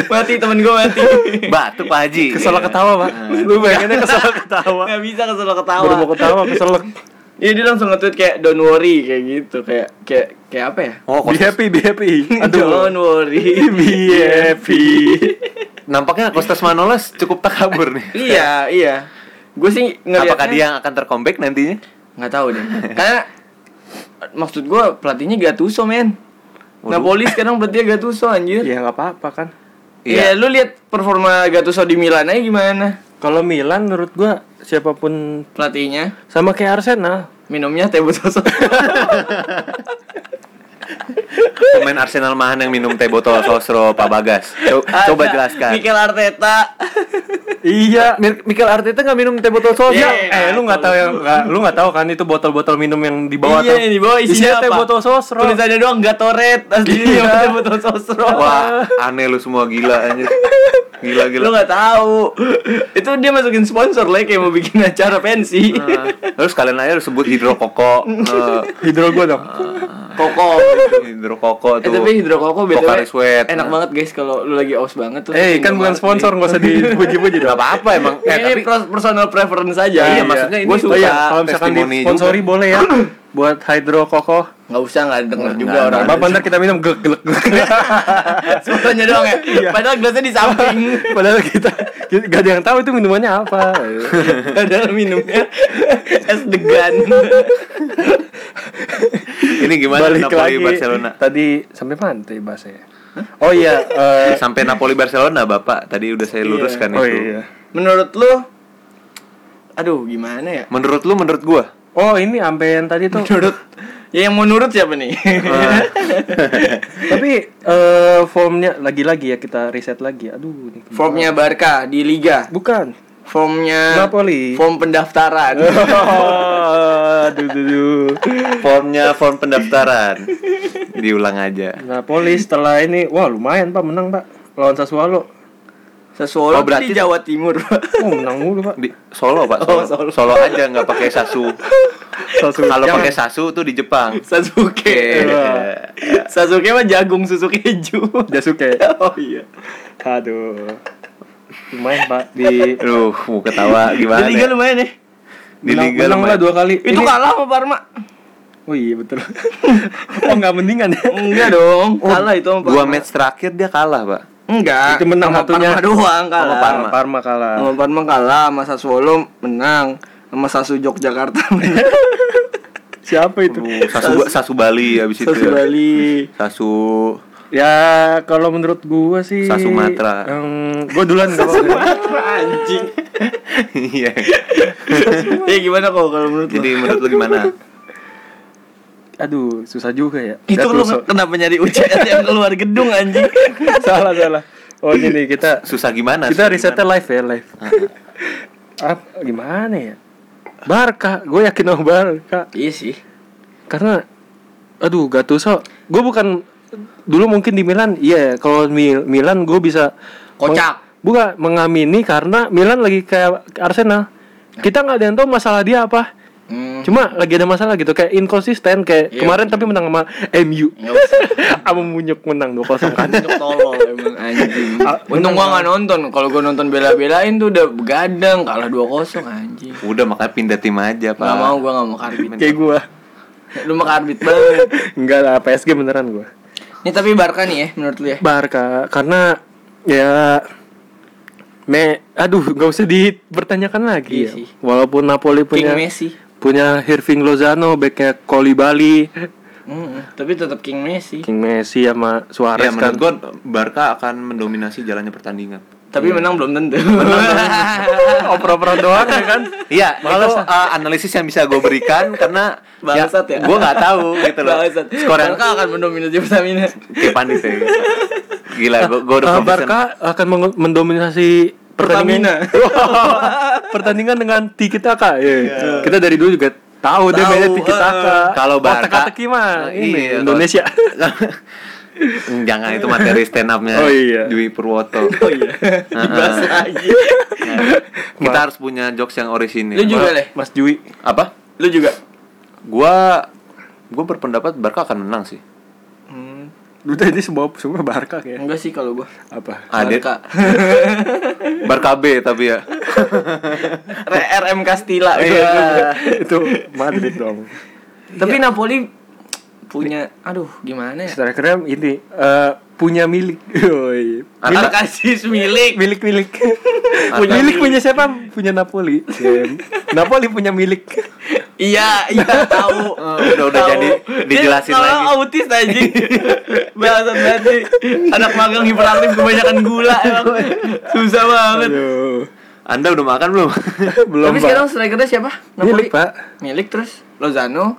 B: mati temen gue mati.
C: Batu Pak Haji.
A: kesel
C: Iya.
A: ketawa pak lu bayanginnya kesel ketawa
B: Gak bisa kesel ketawa.
A: baru mau ketawa kesel
B: Iya dia langsung nge-tweet kayak don't worry kayak gitu kayak kayak kayak apa ya?
C: Oh,
A: be
C: Kostas-
A: happy be happy
B: Don't
A: aduh
B: worry.
A: be
B: Iya.
A: happy
C: nampaknya Kostas Manolas cukup takabur nih.
B: iya iya. Gue sih ngeliatnya
C: Apakah dia yang akan tercomeback nantinya?
B: nggak tahu deh. Karena maksud gue pelatihnya Gattuso men.
C: Waduh.
B: Napoli sekarang pelatihnya Gattuso anjir.
A: ya
B: Iya
A: nggak apa-apa kan
B: lu lihat performa Gattuso di Milan aja gimana?
A: kalau Milan menurut gua siapapun
B: Pelatihnya
A: sama kayak Arsenal
B: minumnya teh botoso.
C: Pemain Arsenal Mahan yang minum teh botol sosro Pak Bagas. Co-
B: Ada
C: Coba
B: kan
C: jelaskan.
B: Mikel Arteta.
A: iya
C: Mikel Arteta nggak minum teh botol sosro.
A: Iya,
B: Iya,
A: eh lu nggak tahu
C: nah,
A: yang nggak- lu nggak tahu kan itu botol-botol minum yang di bawah
B: iya,
A: tuh.
B: di bawah isinya,
A: teh
B: apa?
A: botol sosro.
B: Tulisannya doang Gatoret, aslinya
A: Iya.
B: teh botol sosro.
C: Wah, aneh lu semua gila anjir. Gila gila.
B: Lu nggak tahu. Itu dia masukin sponsor lah kayak mau bikin acara pensi.
C: Nah, Terus kalian aja lu sebut hidrokoko. Nah,
A: Hidro gua dong.
B: Koko.
C: hidrokoko
B: Eh
C: tuh.
B: tapi hidro koko
C: Pocari Sweat.
B: Enak banget guys kalau lu lagi aus banget tuh.
A: Eh,
C: Iya,
A: kan bukan sponsor, nggak usah dipuji-puji
C: Gak
A: dong.
C: apa-apa emang. Eh,
B: Ini
C: tapi
B: pers- personal preference aja.
C: Iya, maksudnya ini
B: Gua suka.
A: Oh iya, kalau misalkan
C: testimoni
A: disponsori boleh ya buat Hydro Koko.
B: Nggak usah nggak denger juga
C: nggak,
B: orang.
C: nggak.
A: Bapak ntar kita minum glek glek glek.
B: Sponsornya doang ya.
C: Iya.
B: Padahal gelasnya di samping.
A: Padahal kita kita- gak ada yang tahu itu minumannya apa.
B: Padahal minumnya es degan.
C: ini gimana
A: Balik
C: Napoli
A: lagi
C: Barcelona?
A: Tadi sampai pantai bahasanya. Oh iya, eh,
C: Sampai Napoli Barcelona Bapak, tadi udah saya luruskan
A: oh
C: kan itu.
A: iya.
B: Menurut lu Aduh, gimana ya?
C: Menurut lu menurut gua?
A: Oh ini sampai yang tadi tuh.
B: Menurut Ya yang mau nurut siapa nih?
C: Eh,
A: Tapi eh, formnya lagi-lagi ya kita reset lagi. Aduh. ini-
B: Formnya Barca di liga.
A: Bukan.
B: Formnya
A: Napoli.
B: Form pendaftaran.
A: Oh, aduh, aduh, aduh.
C: Formnya form pendaftaran. Diulang aja.
A: Napoli Nah, setelah ini, wah lumayan pak, menang pak lawan Sassuolo.
B: Sassuolo
C: Oh, berarti-
B: di Jawa Timur.
A: Oh menang mulu pak.
C: Di Solo Pak, Solo.
B: Oh, Solo.
C: Solo. aja nggak pakai sasu. Kalau
A: Jangan.
C: pakai sasu tuh di Jepang.
B: Sasuke. Iya.
C: Eh,
B: Sasuke mah jagung susu keju.
A: Jasuke.
B: oh iya.
A: Aduh. Lumayan pak di
C: Aduh, mau ketawa gimana?
B: Di liga lumayan ya.
C: Di
A: menang,
C: Liga
A: menang lah
C: lumayan.
A: dua kali.
B: Itu
A: Ini-
B: kalah sama Parma.
A: Oh iya betul. oh nggak mendingan ya.
B: Enggak dong. Oh, kalah itu sama Parma.
C: Dua match terakhir dia kalah, Pak.
B: Enggak.
A: Itu menang
B: sama
A: satunya.
B: Parma doang kalah.
C: Sama Parma.
A: Parma Oh. kalah.
B: Sama Parma kalah, sama Sassuolo menang, sama Sasu Yogyakarta menang.
A: Siapa itu?
C: Aduh, sasu sasu Bali habis itu. ya.
B: Sasu Bali.
C: Sasu
A: Ya kalau menurut gua sih.
C: Sa Sumatera.
A: Yang gua duluan nggak apa-apa.
B: Anjing.
C: Iya.
B: Ya gimana kok kalau menurut
C: Jadi
B: lo?
C: menurut lu gimana?
A: Aduh susah juga ya.
B: Itu lu
A: Gattuso.
B: kenapa nyari UCL yang keluar gedung anjing?
A: salah salah. Oh
B: Iya.
A: ini nih kita
C: Susah gimana?
A: Kita
C: Susah
A: risetnya
C: gimana?
A: live ya live. Ah, gimana ya? Barca, gue yakin sama Barca
B: Iya sih.
A: karena aduh Gattuso, gue bukan dulu mungkin di Milan iya kalau Mil- Milan gue bisa
B: Kocak.
A: meng- bukan mengamini karena Milan lagi kayak Arsenal kita nggak ada yang tahu masalah dia apa
B: Hmm.
A: cuma lagi ada masalah gitu kayak inkonsisten kayak
B: Iya,
A: kemarin tapi menang sama MU
B: Nggak usah.
A: sama Munyuk menang 2-0 kan
B: Tunjuk tolol emang anjing. Untung gua nggak nonton. Kalau gua nonton bela-belain tuh udah begadang kalah 2-0 anjing.
C: Udah makanya pindah tim aja, Pak. Iya,
B: Nggak mau gua nggak mau karbit.
A: kayak gue
B: Lu mau karbit banget.
A: enggak lah PSG beneran gue
B: Ini tapi Barca nih ya menurut lu ya.
A: Barca karena ya me aduh nggak usah dipertanyakan lagi
B: Iya
A: ya.
B: sih.
A: walaupun Napoli
B: King
A: punya
B: Messi.
A: punya Irving Lozano backnya Kolibali
B: Hmm, tapi tetap King Messi.
A: King Messi sama
C: Ya,
B: Iya,
A: Suarez kan
C: menurut gua Barca akan mendominasi jalannya pertandingan.
B: Tapi menang Iya. belum tentu.
A: oper-operan doang ya kan
C: Iya, itu uh, analisis yang bisa gue berikan karena
B: Bangsat ya.
C: gue nggak tahu gitu loh.
B: Bangsat.
C: Skor yang
B: Barca akan mendominasi pertamina.
C: Kapan itu ya. Gila, gue gua udah
A: Eh,
C: kompeten.
A: Barca akan meng- mendominasi pertandingan pertandingan dengan tiki taka ya. kita dari dulu juga tahu ah. deh
B: Tahu,
A: mainnya tiki taka
C: eh. Kalau Barca-
A: teka-teki mah
C: Iya,
A: ini
C: kalau-
A: Indonesia
C: Jangan itu materi stand up-nya
A: Oh, iya.
C: Dwi Purwoto.
B: Oh iya. Dibahas lagi.
C: Kita harus punya jokes yang orisinil.
B: Lu juga leh.
A: Mas Jui
C: Apa?
B: Lu juga.
C: Gua gua berpendapat Barca akan menang sih.
B: Hmm,
A: lu tadi semua semua Barca kayak
B: enggak sih kalau gua.
A: apa
C: Ada
B: Barca.
C: Ah, Barca B tapi ya.
B: Re- RM
A: Oh, Ah,
B: Castilla.
A: iya. itu Madrid dong
C: Iya.
B: Tapi Napoli punya aduh gimana ya?
A: strikernya ini eh, punya milik Yoi.
C: Milik-
B: Alkasis milik.
A: milik milik punya milik punya siapa punya Napoli Jem. Napoli punya milik
B: Iya, iya tahu.
C: Oh, udah- udah
B: Tahu.
C: jadi
B: Dia
C: dijelasin
B: kalau
C: lagi.
B: autis aja. Bangsat banget sih. Anak magang hiperaktif kebanyakan gula emang. Susah banget.
A: Aduh.
C: Anda udah makan belum?
A: belum
B: Tapi
A: Pak.
B: sekarang strikernya siapa?
A: milik pak
B: Milik terus Lozano,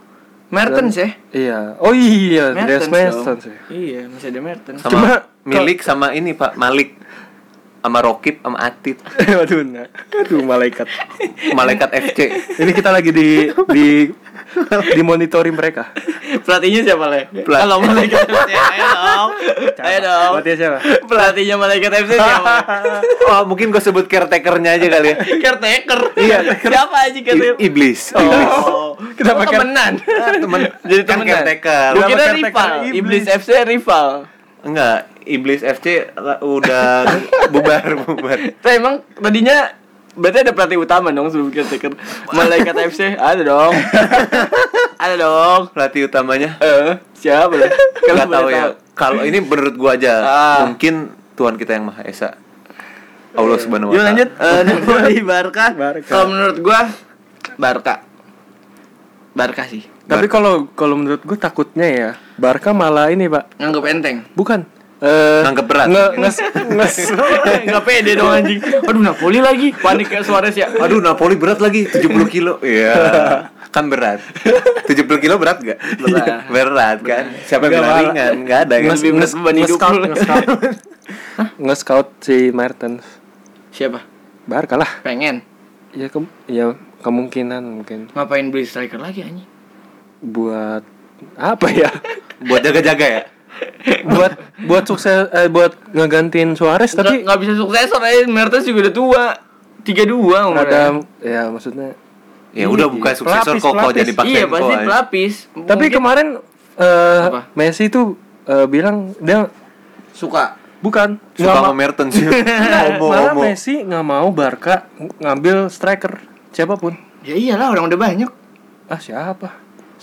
B: Mertens ya.
A: iya oh iya Dres
B: Mertens.
A: Mason
B: dong.
C: eh.
A: sih
B: Iya, masih ada Mertens.
C: Sama
A: Cuma-
C: milik sama ini Pak Malik. Sama Rokib sama Atit.
A: Waduh, nah. aduh malaikat.
C: Malaikat FC.
A: Ini kita lagi di di di monitoring mereka.
B: Pelatihnya siapa, Le?
C: Pelat-
B: Kalau malaikat FC, ayo dong. Ayo dong.
A: Berarti siapa?
B: Pelatihnya malaikat FC siapa?
C: oh, mungkin gue sebut caretakernya aja kali ya.
B: Caretaker.
A: Iya,
B: Siapa aja
C: I-
B: caretaker?
C: Iblis.
B: iya. Oh,
A: Kenapa
B: kenapa
A: care-
B: temenan?
C: Temen,
B: Jadi
C: kan
B: temenan.
C: caretaker.
B: Gue
A: Kenapa
B: kira
A: caretaker
B: rival.
A: iblis?
B: Iblis FC rival.
C: Enggak, Iblis FC la- udah bubar bubar.
B: Tapi emang tadinya berarti ada pelatih utama dong sebelum caretaker. Malaikat FC ada dong. ada dong.
C: Pelatih utamanya
B: Eh, siapa lah? Kalau
C: nggak tahu
B: boleh
C: ya. Kalau ini menurut gua aja,
B: Ah.
C: mungkin Tuhan kita yang Maha Esa. Allah Subhanahu wa
B: Yuk
C: taala.
B: lanjut Eh, Napoli Barca.
A: Barca.
B: Kalau menurut gua Barca. Barca sih.
A: Tapi kalau kalau menurut gue takutnya ya Barca malah ini pak
B: Nganggep enteng.
A: bukan eh
C: Nganggep berat.
A: nge, nges, nges,
B: Enggak pede dong anjing. Aduh Napoli lagi. Panik kayak Suarez ya.
C: Aduh, Napoli berat lagi 70 kilo. Iya. Kan berat. 70 kilo berat gak?
B: Berat.
C: Berat kan? Siapa
A: Nggak
C: yang bilang
A: malah.
C: ringan? Gak ada kan?
A: nges,
B: Lebih berat
A: nges,
B: beban hidup
A: nge-scout,
B: lu.
A: nge-scout. Nge-scout si Mertens
B: Siapa?
A: Barca lah
B: Pengen
A: ya ke, ya kemungkinan mungkin
B: ngapain beli striker lagi anjing?
A: buat apa ya
C: Buat jaga-jaga ya?
A: buat buat sukses eh, buat ngegantiin Suarez
B: Tapi
A: tapi
B: nggak bisa suksesor aja Mertens juga udah tua. 32 umurnya.
A: ada ya maksudnya
C: Ya udah buka
A: Pelapis,
C: suksesor koko eh.
A: pelapis.
C: jadi Pak
B: Iya
C: Senko
B: pasti
C: aja.
B: pelapis.
A: tapi
B: Mungkin
A: kemarin eh,
B: Apa?
A: Messi tuh eh, bilang dia
B: suka.
A: bukan
C: Suka
A: nggak
C: sama
A: ma-
C: Mertens
A: Nggak,
C: Homo
A: malah
C: homo
A: Messi nggak mau Barca ng- ngambil striker siapapun
B: Ya iyalah orang udah banyak.
A: ah siapa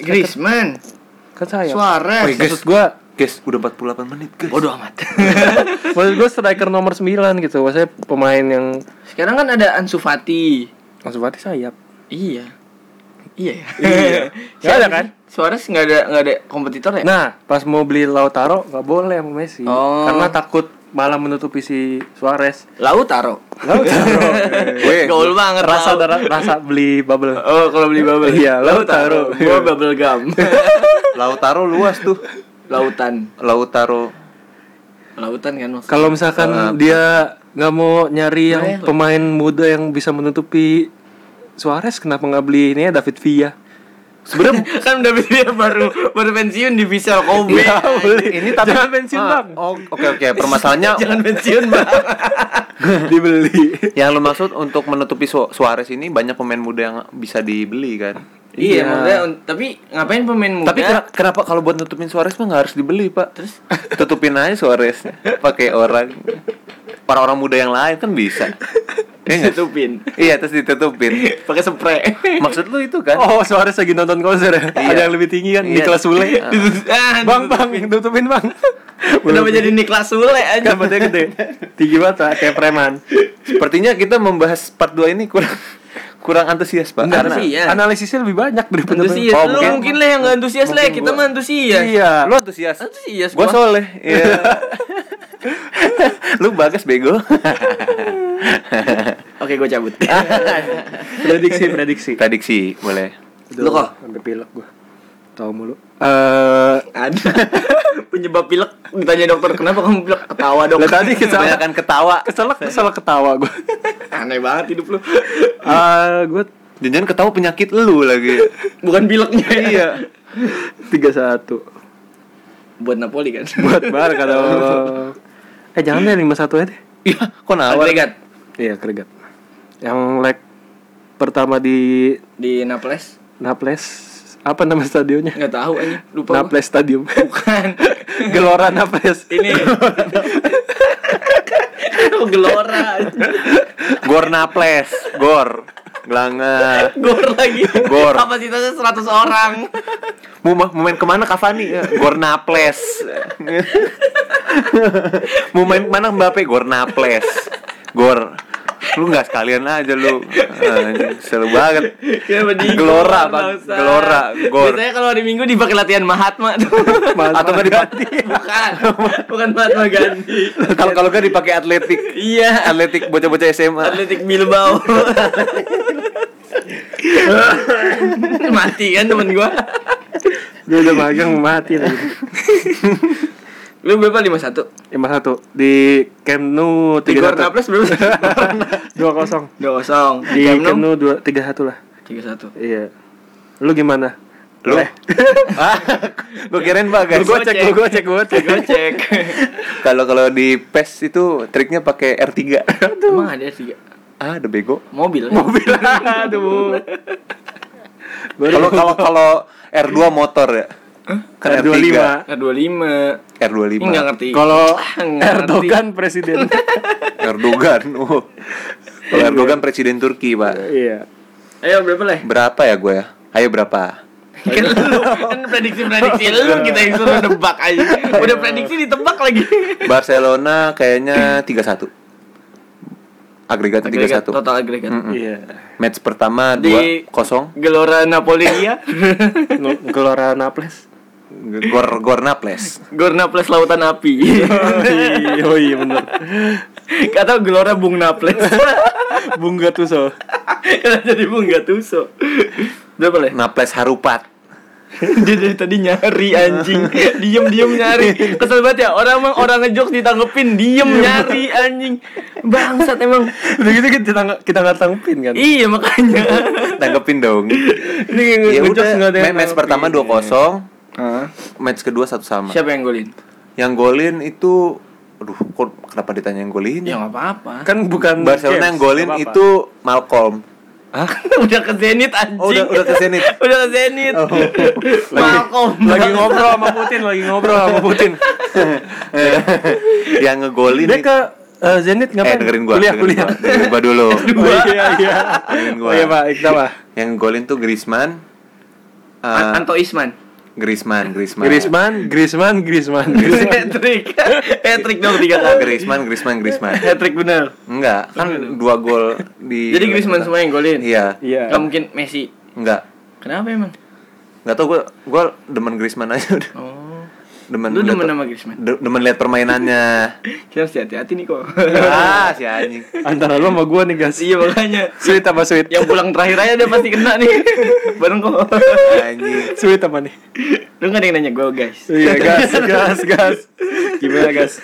B: Griezmann,
A: kan saya
C: Oh, iya,
B: Suarez.
C: guys.
A: maksud gue
C: Guys udah 48 menit guys
B: Bodoh amat.
A: maksud gue striker nomor 9 gitu maksudnya pemain yang
B: Sekarang kan ada Ansu Fati.
A: maksud berarti sayap
B: Iya. Iya. ya?
A: Iya. Nggak ada kan?
B: Suarez nggak ada nggak ada kompetitor ya?
A: nah pas mau beli Lautaro nggak boleh sama Messi
B: Oh.
A: karena takut malah menutupi si Suarez
B: Lautaro.
A: Lautaro
C: Weh,
B: Gaul banget
A: rasa
B: Lau.
A: rasa beli bubble
B: Oh, kalau beli bubble.
A: Iya, Lautaro.
B: Gua bubble gum.
C: Lautaro luas tuh
B: Lautan.
C: Lautaro
B: Lautan kan maksudnya.
A: Kalau misalkan
C: Salah.
A: dia nggak mau nyari yang
B: Boleh lah.
A: pemain muda yang bisa menutupi Suarez, kenapa nggak beli ini ya David Villa? Sebenarnya
B: kan udah dia baru baru pensiun di Vissel Kobe.
A: Iya, boleh.
C: ini tapi
A: Jangan pensiun,
C: Ah,
A: Bang. Iya.
C: oh, Oke oke permasalahannya
B: Jangan pensiun, Bang.
A: dibeli.
C: yang lu maksud untuk menutupi Su- Suarez ini banyak pemain muda yang bisa dibeli kan.
B: iya, maksudnya un- tapi ngapain pemain muda?
C: Tapi kena- kenapa kalau buat nutupin Suarez mah nggak harus dibeli pak? Terus tutupin aja Suarez pakai orang para orang muda yang lain kan bisa. Iya nggak?
B: ditutupin.
C: Iya terus ditutupin.
B: Pakai spray.
C: Maksud lu itu kan?
A: Oh, Suarez lagi nonton konser ya? Ada yang lebih tinggi kan,
C: Iya.
A: Nicolas Sule.
B: Ditut- ah,
A: bang,
B: ditutupin.
A: bang, tutupin bang.
B: Kenapa jadi Niklas Sule aja?
A: Kan badannya gede. Tinggi banget Pak, kayak preman.
C: Sepertinya kita membahas part 2 ini kurang kurang antusias pak.
B: Enggak
C: Karena-
B: antusias. Iya.
A: Analisisnya lebih banyak daripada
B: Antusias,
C: Oh,
B: lu
C: mungkin-
B: mungkin, lah yang gak antusias lah,
C: mungkin
B: kita
C: gua-
B: mah antusias
A: Iya.
C: Lu antusias.
B: Antusias
C: Gua
B: gua.
C: soleh. Iya. lu bagas bego.
B: Oke, gue cabut
A: prediksi, prediksi.
C: Prediksi boleh.
B: Lu kok?
A: Sampai pilek gua. Tahu mulu. Eh,
B: Ada Penyebab pilek, ditanya dokter, kenapa kamu pilek? Ketawa dok
A: lah tadi kita
C: Kebanyakan ketawa.
A: keselak keselak ketawa gua.
B: Aneh banget hidup lu
A: Eh, gua
C: Jangan ketawa penyakit lu lagi.
B: Bukan pileknya ya.
C: iya.
A: 31
B: Buat Napoli kan?
A: buat bar kata Allah. Eh, jangan deh 51 aja deh.
C: Iya, kok nawar?
B: Agregat
A: Iya, keringat. Yang leg pertama di
B: Di Naples
A: Naples apa nama stadionnya?
B: Gak tahu aja, lupa gua.
A: Naples Stadium.
B: Bukan
A: Gelora
C: ya?
A: Naples.
B: Ini Lu Gelora
C: Gor naples, gor. Gelanga.
B: Gor lagi
C: Gor.
B: Kapasitasnya 100 orang
C: Mau ma- mau main kemana Cavani? Ya, Gor naples. mau main kemana Mbappe? Gor naples. Gor. Lu nggak sekalian aja lu. Anjing, Seru banget.
B: Kenapa di
C: Gelora,
B: Gor,
C: Bang.
B: nggak usah.
C: Gelora, Gor.
B: Biasanya kalau hari Minggu dipakai latihan Mahatma tuh.
A: Mahatma
C: Atau nggak dipakai?
B: Bukan. Bukan Mahatma Gandhi.
C: Kalau kalau nggak dipakai atletik.
B: Iya,
C: Atletik bocah-bocah SMA.
B: Atletik Bilbao. Mati kan temen gua.
A: Dia udah magang mau mati lagi.
B: Lu berapa 51?
A: 51 di Camp Nou
B: Di Gor Naples berapa?
A: 2-0.
B: 20.
A: Di Camp Nou 2 3-1 lah.
B: 31.
A: Iya. Lu gimana?
C: Lu?
A: Eh,
C: Ah, gue kirain bagas.
A: Gua cek, gua cek, gua cek.
B: Gua cek.
C: Kalau kalau di PES itu triknya pakai R3.
B: Emang ada tiga
C: ah, ada bego.
B: mobil.
A: Mobil aduh.
C: Kalau kalau kalau R2 motor ya. Kan R3.
A: R25.
B: R25. Ini
C: R25.
B: enggak ngerti.
A: Kalau
B: Ah, ngerti.
A: Erdogan presiden.
C: Erdogan. Oh. Kalau Erdogan presiden Turki, Pak.
A: Iya.
B: Ayo berapa lah?
C: Berapa ya gue ya? Ayo berapa?
B: kan lu kan prediksi prediksi lu kita yang suruh nebak aja udah prediksi ditebak lagi
C: Barcelona kayaknya 3-1. Agregat 3-1.
B: total agregat
C: Hmm.
A: Iya.
C: Match pertama
B: Di-
C: 2-0. Gor
B: gelora Napoli dia
A: Gelora Naples.
C: Gor Naples.
B: Gor Naples lautan api
A: Oh iya benar.
B: atau gelora Bung Naples
A: Bung Gattuso.
B: karena jadi Bung Gattuso berapa lah
C: Naples Harupat.
B: dia dari tadi nyari anjing diem diem nyari kesel banget ya orang emang orang ngejokes ditanggepin diem nyari anjing bangsat emang
A: Udah gitu kita nggak kita nggak tanggepin kan.
B: iya makanya
C: Tanggepin dong.
A: Ini
C: ya
A: ngejokes
C: udah,
A: Iya, nggak ada yang
C: ma- match
A: tanggepin.
C: pertama 2-0. Match kedua satu sama.
B: siapa yang golin
C: Yang golin itu aduh kok kenapa ditanya yang golin?
B: ya nggak apa-apa
A: Kan bukan James,
C: Barcelona yang golin
A: nggak apa-apa.
C: itu Malcolm.
B: Kan udah ke Zenit anjing.
C: Oh, udah- udah ke Zenit.
B: udah ke Zenit. Malcolm.
A: lagi ngobrol sama Putin, lagi ngobrol sama Putin.
C: yang ngegolin
A: Dia ke eh, Zenit
C: eh
A: ngapain?
C: dengerin gua,
A: kuliah,
C: dengerin
A: kuliah.
C: gua, dengerin gua dulu.
A: Oh, iya, iya.
C: Dengerin gua.
A: Oh
C: Nah.
A: iya, Pak, kita Pak.
C: Yang ngegolin tuh Griezmann.
B: An-
C: Eh,
B: Anto Isman.
C: Griezmann, Griezmann.
A: Griezmann, Griezmann, Griezmann.
B: Hat-trick. Hat-trick dong tiga kali.
C: Iya Griezmann, Griezmann, Griezmann.
B: Hat-trick bener.
C: Enggak, kan dua gol di
B: Jadi Griezmann semua yang golin.
C: Iya.
A: Iya.
B: Gak mungkin Messi.
C: Enggak.
B: Kenapa emang?
C: Enggak tau gua gua demen Griezmann aja udah.
B: Oh.
C: Demen
B: Lu
C: liat-
B: demen sama Griezmann?
C: de- demen lihat permainannya.
B: Kita harus hati-hati nih kok.
C: ah, si anjing.
A: Antara lu sama gua nih, guys.
B: iya makanya.
A: Sweet apa sweet?
B: Yang pulang terakhir aja udah pasti kena nih. Bareng kok.
C: Anjing.
A: Sweet apa nih?
B: Lu gak ada yang nanya gue guys.
A: Iya, gas, gas, gas.
B: Gimana guys?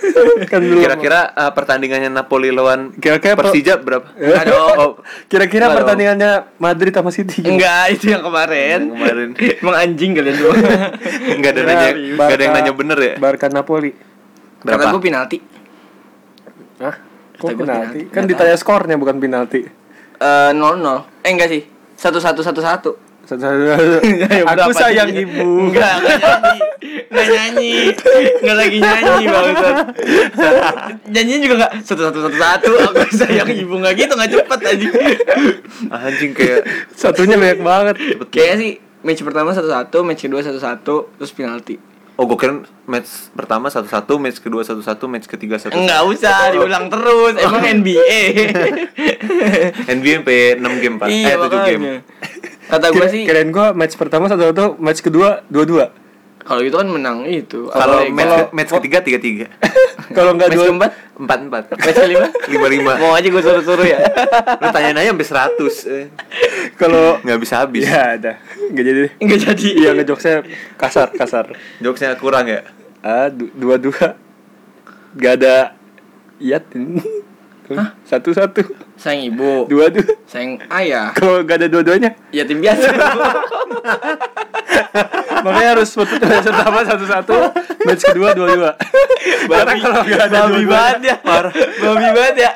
A: kan belum.
C: Kira-kira eh, pertandingannya Napoli lawan
A: Kira-kira per-
C: Persija berapa? Oh,
B: Aduh.
A: oh. Kira-kira
C: Aduh.
A: pertandingannya Madrid sama City gimana?
B: Enggak, itu yang kemarin.
C: Kemarin.
B: Emang anjing kalian semua.
C: Enggak ada nanya, enggak ada yang nanya bener ya.
A: Iya, Barca Napoli.
B: Berapa?
C: Berapa?
B: gue penalti.
A: Hah?
B: Kata
A: Kok
B: gua
A: penalti?
B: penalti.
A: Kan
B: Nggak
A: ditanya skornya bukan penalti.
B: Eh, 0-0. Eh enggak sih. 1-1-1-1.
A: Satu- satu- satu.
B: Ya,
A: Aku
B: berapa
A: sayang
B: sih?
A: ibu.
B: Enggak, enggak nyanyi. Enggak lagi nyanyi, bangsat. Nyanyinya juga enggak satu satu satu satu. Aku sayang ibu enggak gitu, enggak cepet aja.
C: Anjing kayak
A: Satunya banyak banget.
B: Kayaknya sih match pertama satu satu, match kedua satu satu, terus penalti.
C: Oh gue kira match pertama satu-satu, match kedua satu-satu, match ketiga satu.
B: Enggak
A: Oh.
B: usah diulang terus. Emang NBA.
A: Eh,
C: NBA sampai 6 game pak,
B: iya,
C: eh 7 game.
B: makanya. Kata gue
A: Kira-
B: sih
A: Kirain gua match pertama satu satu, match kedua dua dua.
B: kalau gitu kan menang itu.
C: Kalau
B: Amerika.
C: match,
A: kalau-
C: match ketiga tiga tiga,
A: Kalau nggak
B: match
A: dua
B: keempat,
C: empat empat,
B: match kelima,
C: lima lima.
B: mau aja gue suruh-suruh ya.
C: Lu tanya nanya sampai seratus, eh.
A: kalau
C: nggak bisa habis.
B: Iya.
A: ya ada nggak jadi deh.
B: Enggak jadi.
A: Iya ngejokesnya kasar kasar.
C: Jokesnya kurang ya.
A: Ah du- dua dua nggak ada yatin. Satu satu
B: Sayang ibu.
A: dua dua.
B: Sayang ayah.
A: Kalau nggak ada dua duanya
B: Ya tim biasa.
A: Makanya harus match pertama satu-satu, match kedua dua-dua. Karena kalau nggak ada
B: babi
A: dua-dua,
B: banget ya. Babi banget ya.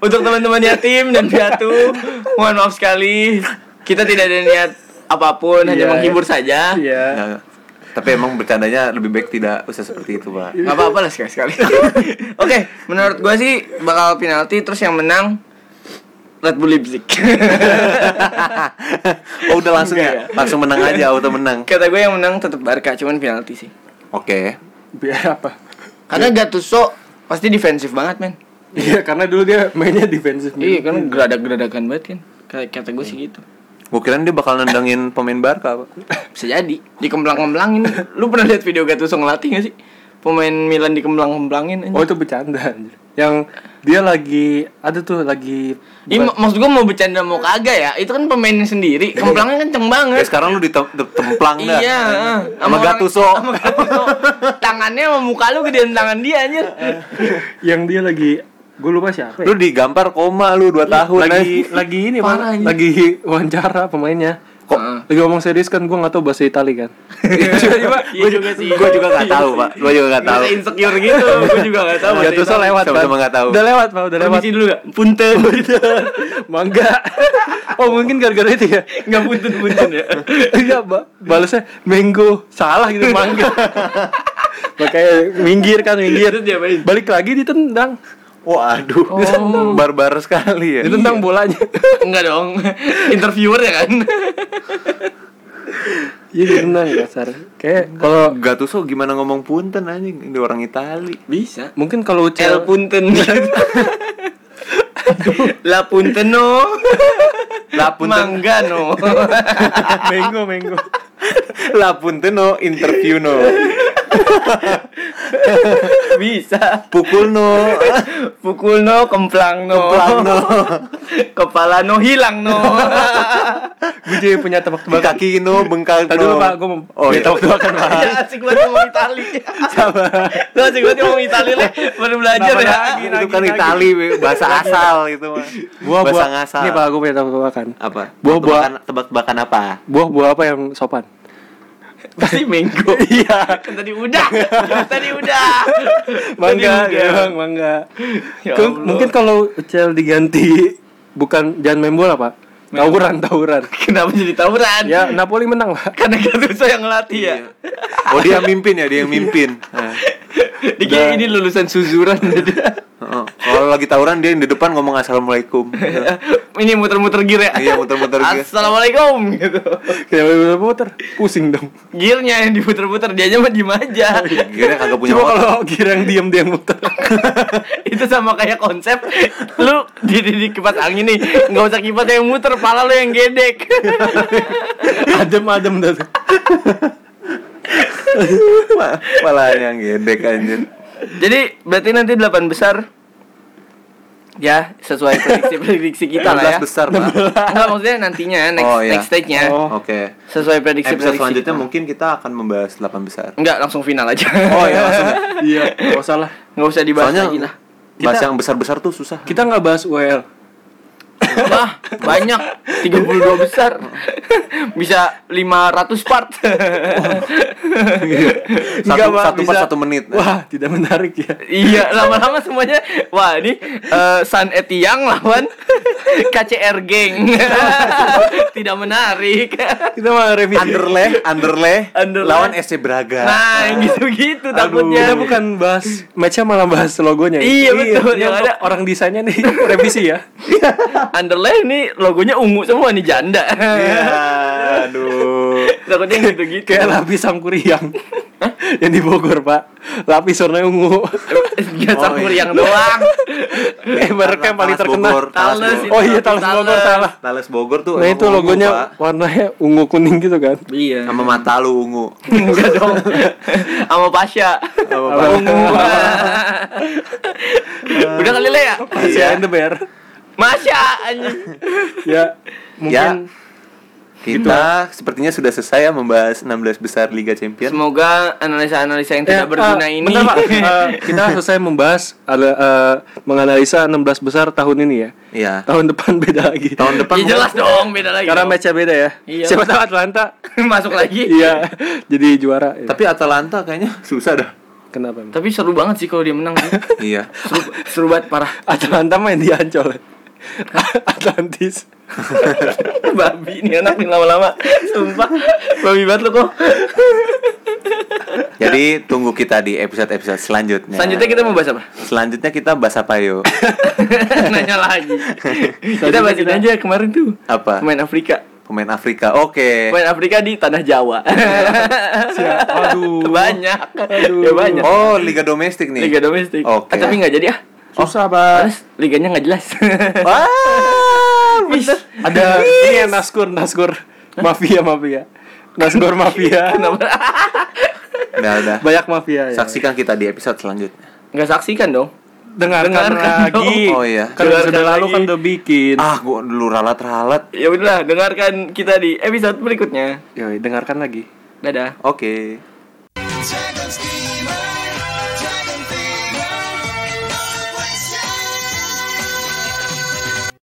B: Untuk teman-teman yatim dan piatu, mohon maaf sekali. Kita tidak ada niat apapun, hanya
A: Iya.
B: menghibur saja.
A: Iya.
C: Nah, tapi emang bercandanya lebih baik tidak usah seperti itu pak.
B: Gak apa-apa lah sekali-sekali. Oke, menurut gua sih bakal penalti terus yang menang Red Bull Leipzig.
C: Oh udah langsung ya,
B: Enggak ya?
C: langsung menang aja auto menang.
B: Kata gue yang menang tetap Barca, cuman penalti sih.
C: Oke.
A: Biar apa?
B: Karena Gattuso pasti defensif banget, men.
A: Iya, karena dulu dia mainnya defensif.
B: Iya, kan geradak-geradakan banget kan. Kata, kata gue sih gitu.
C: Gue kira dia bakal nendangin pemain Barca pak.
B: Bisa jadi dikemplang-kemplangin. Lu pernah lihat video Gattuso ngelatih gak sih? Pemain Milan dikemplang-kemplangin anjing.
A: Oh itu bercanda. anjir. Yang dia lagi ada tuh lagi
B: Iya, mak- maksud gua mau bercanda mau kagak ya? Itu kan pemainnya sendiri, kemplangnya kenceng banget.
C: Kayak sekarang lu ditem- ditemplang dah.
B: Iya, heeh.
C: Sama
B: orang-
C: Gattuso.
B: Sama Gattuso. Tangannya sama muka lu gedean tangan dia anjir.
A: yang dia lagi gue lupa siapa. Ya?
C: Lu digampar koma lu 2 tahun
A: Iya, lagi
C: anjing.
A: lagi ini
B: Parah,
A: Bang.
B: anjir.
A: lagi wawancara pemainnya. Kok
B: Heeh.
A: lagi ngomong serius kan gue nggak tahu bahasa Itali kan.
B: Iya juga sih.
C: Gue juga nggak tahu Ya, pak, gue juga
A: Iya,
C: nggak tahu.
B: Bisa insecure gitu, gua juga gak tahu.
A: Gak tuh lewat
C: Sama-sama
A: Bang.
C: nggak tahu.
A: Udah lewat pak, udah lewat.
B: Permisi dulu Gitu. gak? Punten.
A: Mangga. Oh mungkin gara-gara itu ya.
B: Enggak punten-punten ya.
A: Enggak, ba balasnya minggu. Salah gitu mangga. Makanya minggir kan
C: Iya.
A: minggir.
B: Terus dia main.
A: Balik lagi ditendang.
C: Waduh,
B: Oh.
C: barbar sekali ya.
A: Ditendang bolanya.
B: Enggak dong. Interviewer ya kan.
A: Iya ditendang kasar. Kayak kalau
C: Gattuso gimana ngomong punten anjing, ini orang Itali.
B: Bisa.
A: mungkin kalau
B: El
A: Ucel
B: punten. La punteno.
C: La punten,
B: Mangga no.
A: minggu minggu.
C: la punten no interview no.
B: Bisa.
C: Pukul no,
B: Pukul no, kemplang no.
C: pelang no.
B: Kepala no hilang no.
A: Gue jadi punya tebak
C: Di
A: tebakan.
C: kaki no, bengkak no.
A: Tadi dulu pak, gue mau
C: Oh, iya.
A: tebak tebakan pak.
B: ya, asik banget ngomong Itali.
A: Sabar.
B: Lu asik banget ngomong Itali lah. Baru belajar
A: Kenapa
B: ya.
A: lagi?
C: itu kan Itali, bahasa asal itu mah.
A: Buah
C: bahasa
A: buah.
C: ngasal.
A: Nih pak, gue punya tebak tebakan.
C: apa?
A: Buah-buah.
C: Tebakan- Tebak-tebakan apa?
A: Buah buah apa yang sopan?
B: Pasti minggu.
A: Iya.
B: Kan tadi udah. Tadi udah.
A: Mangga,
B: Tadi udah.
A: ya bang, mangga.
B: Ya
A: Ke-
B: Allah.
A: mungkin kalau Ucel diganti bukan jangan main bola pak, tawuran tawuran.
B: Kenapa jadi tawuran?
A: Ya Iya. Napoli menang lah.
B: Karena Gattuso yang ngelatih ya.
C: Oh dia yang mimpin ya, dia yang mimpin. Nah.
B: Dikira ini lulusan Suzuran jadi.
C: Oh, Kalau lagi tawuran dia yang di depan ngomong assalamualaikum.
B: ini muter-muter gear ya.
C: Iya, muter-muter gear.
B: Assalamualaikum gitu.
A: Kayak puter puter, pusing dong.
B: Gearnya yang diputer-puter dia aja mah diem
A: Oh,
B: aja.
A: iya.
C: Kira kagak punya
A: Cuma
C: otak.
A: kalau kira yang diam dia yang muter.
B: itu sama kayak konsep lu di di, di kipas angin nih nggak usah kipasnya yang muter pala lu yang gedek
A: adem adem dah. tuh.
C: Ma- malah yang gedek anjir
B: jadi berarti nanti delapan besar Ya, sesuai prediksi-prediksi kita lah ya.
C: 16 besar, Pak.
B: Enggak maksudnya nantinya next
C: Oh, iya.
B: next stage-nya.
A: Oh.
C: Oke.
B: Sesuai prediksi
C: Episode
B: prediksi.
C: selanjutnya
B: kita.
C: mungkin kita akan membahas 8 besar.
B: Enggak, langsung final aja.
C: Oh iya langsung. ya?
A: Iya, nggak usah lah.
B: Enggak usah dibahas
C: Soalnya
B: lagi lah.
C: bahas
A: Kita-
C: yang besar-besar tuh susah.
A: Kita nggak bahas E UL.
B: Wah, banyak 32 besar. Bisa 500 part.
C: satu,
A: Nggak, Pak,
C: satu part
A: bisa.
C: satu menit.
A: Wah, tidak menarik ya.
B: Iya, lama-lama semuanya Wah, ini eh, San Etiang lawan KCR Geng Tidak menarik
A: Kita mah revisi.
C: Underlay, underlay,
B: Underlay.
C: lawan SC Braga.
B: Nah, gitu-gitu
A: Aduh,
B: takutnya
A: kita bukan bahas matchnya malah bahas logonya. ya?
B: Iya, betul.
A: ini
B: Yang
A: untuk
B: ada-
A: orang desainnya nih revisi ya.
B: Underlay ini logonya ungu semua nih janda
C: Iya, aduh.
B: Takutnya gitu-gitu
A: Kayak lapis samkuriang. yang di Bogor, Pak. Lapis warna ungu.
B: Gak
C: Oh,
B: campur
C: iya.
B: yang doang
A: eh, mereka yang paling
C: Talas
A: terkenal.
C: Bogor, Talas
B: Talas
C: Bogor.
B: itu.
A: Oh iya,
B: Talas
A: Talas Bogor
B: Talas.
A: salah.
C: Talas Bogor tuh
A: Nah,
C: emang
A: itu
C: ungu,
A: logonya
C: Pak.
A: warnanya ungu kuning gitu kan.
B: Iya
C: sama mata lu ungu.
B: Enggak dong Sama Pasha
C: Oh.
B: Ungu Udah kali Le, ya?
A: Masih
C: Iya.
A: and the bear.
B: Masya anjing
A: Ya, mungkin
C: Kita sepertinya sudah selesai ya membahas 16 besar Liga Champions.
B: Semoga analisa-analisa yang
A: Eh,
B: tidak berguna
A: eh,
B: ini
A: bentar, Pak. Eh, kita selesai membahas ada eh, menganalisa 16 besar tahun ini ya.
C: Iya.
A: Tahun depan beda lagi.
C: Tahun depan
B: Ya jelas dong beda lagi.
A: Karena
B: dong.
A: matchnya beda ya.
B: Iya.
A: Siapa tahu Atlanta.
B: masuk lagi.
A: iya, jadi juara. Ya.
C: Tapi Atalanta kayaknya susah dah.
A: kenapa? emang?
B: Tapi seru banget sih kalau dia menang. sih.
C: iya.
B: seru, seru banget parah.
A: Atlanta main di Ancol. Atlantis.
B: Babi nih anak nih lama-lama. Sumpah. Babi banget lu kok.
C: Jadi tunggu kita di episode-episode selanjutnya.
B: Selanjutnya kita mau bahas apa?
C: Selanjutnya kita bahas apa yuk?
B: Nanya lagi. kita bahasin
A: kita-
B: aja kemarin tuh.
C: Apa?
B: Pemain Afrika.
C: Pemain Afrika. Oke.
B: Pemain Afrika di tanah Jawa.
A: Siap. Aduh.
B: banyak.
A: Aduh.
B: Ya banyak.
C: Oh, Liga domestik nih.
B: Liga domestik.
C: Oke.
B: Ah, tapi nggak jadi ah.
A: Susah, Pak.
B: Terus liganya nggak jelas. Oh,
C: Wah,
B: Bisa.
A: Ada ini ya Naskur, Naskur. Mafia, mafia. Naskur mafia.
C: Udah, udah.
A: Banyak mafia ya.
C: Saksikan kita di episode selanjutnya.
B: Nggak saksikan dong.
A: dengarkan,
B: Dengarkan
A: lagi.
C: dong. Oh, iya.
A: Kan
B: Dengarkan
A: sudah lalu
B: lagi.
A: kan udah bikin.
C: Ah, gua dulu ralat-ralat.
B: ya udahlah dengarkan kita di episode berikutnya
A: Yoi, dengarkan lagi.
B: dadah
C: Oke.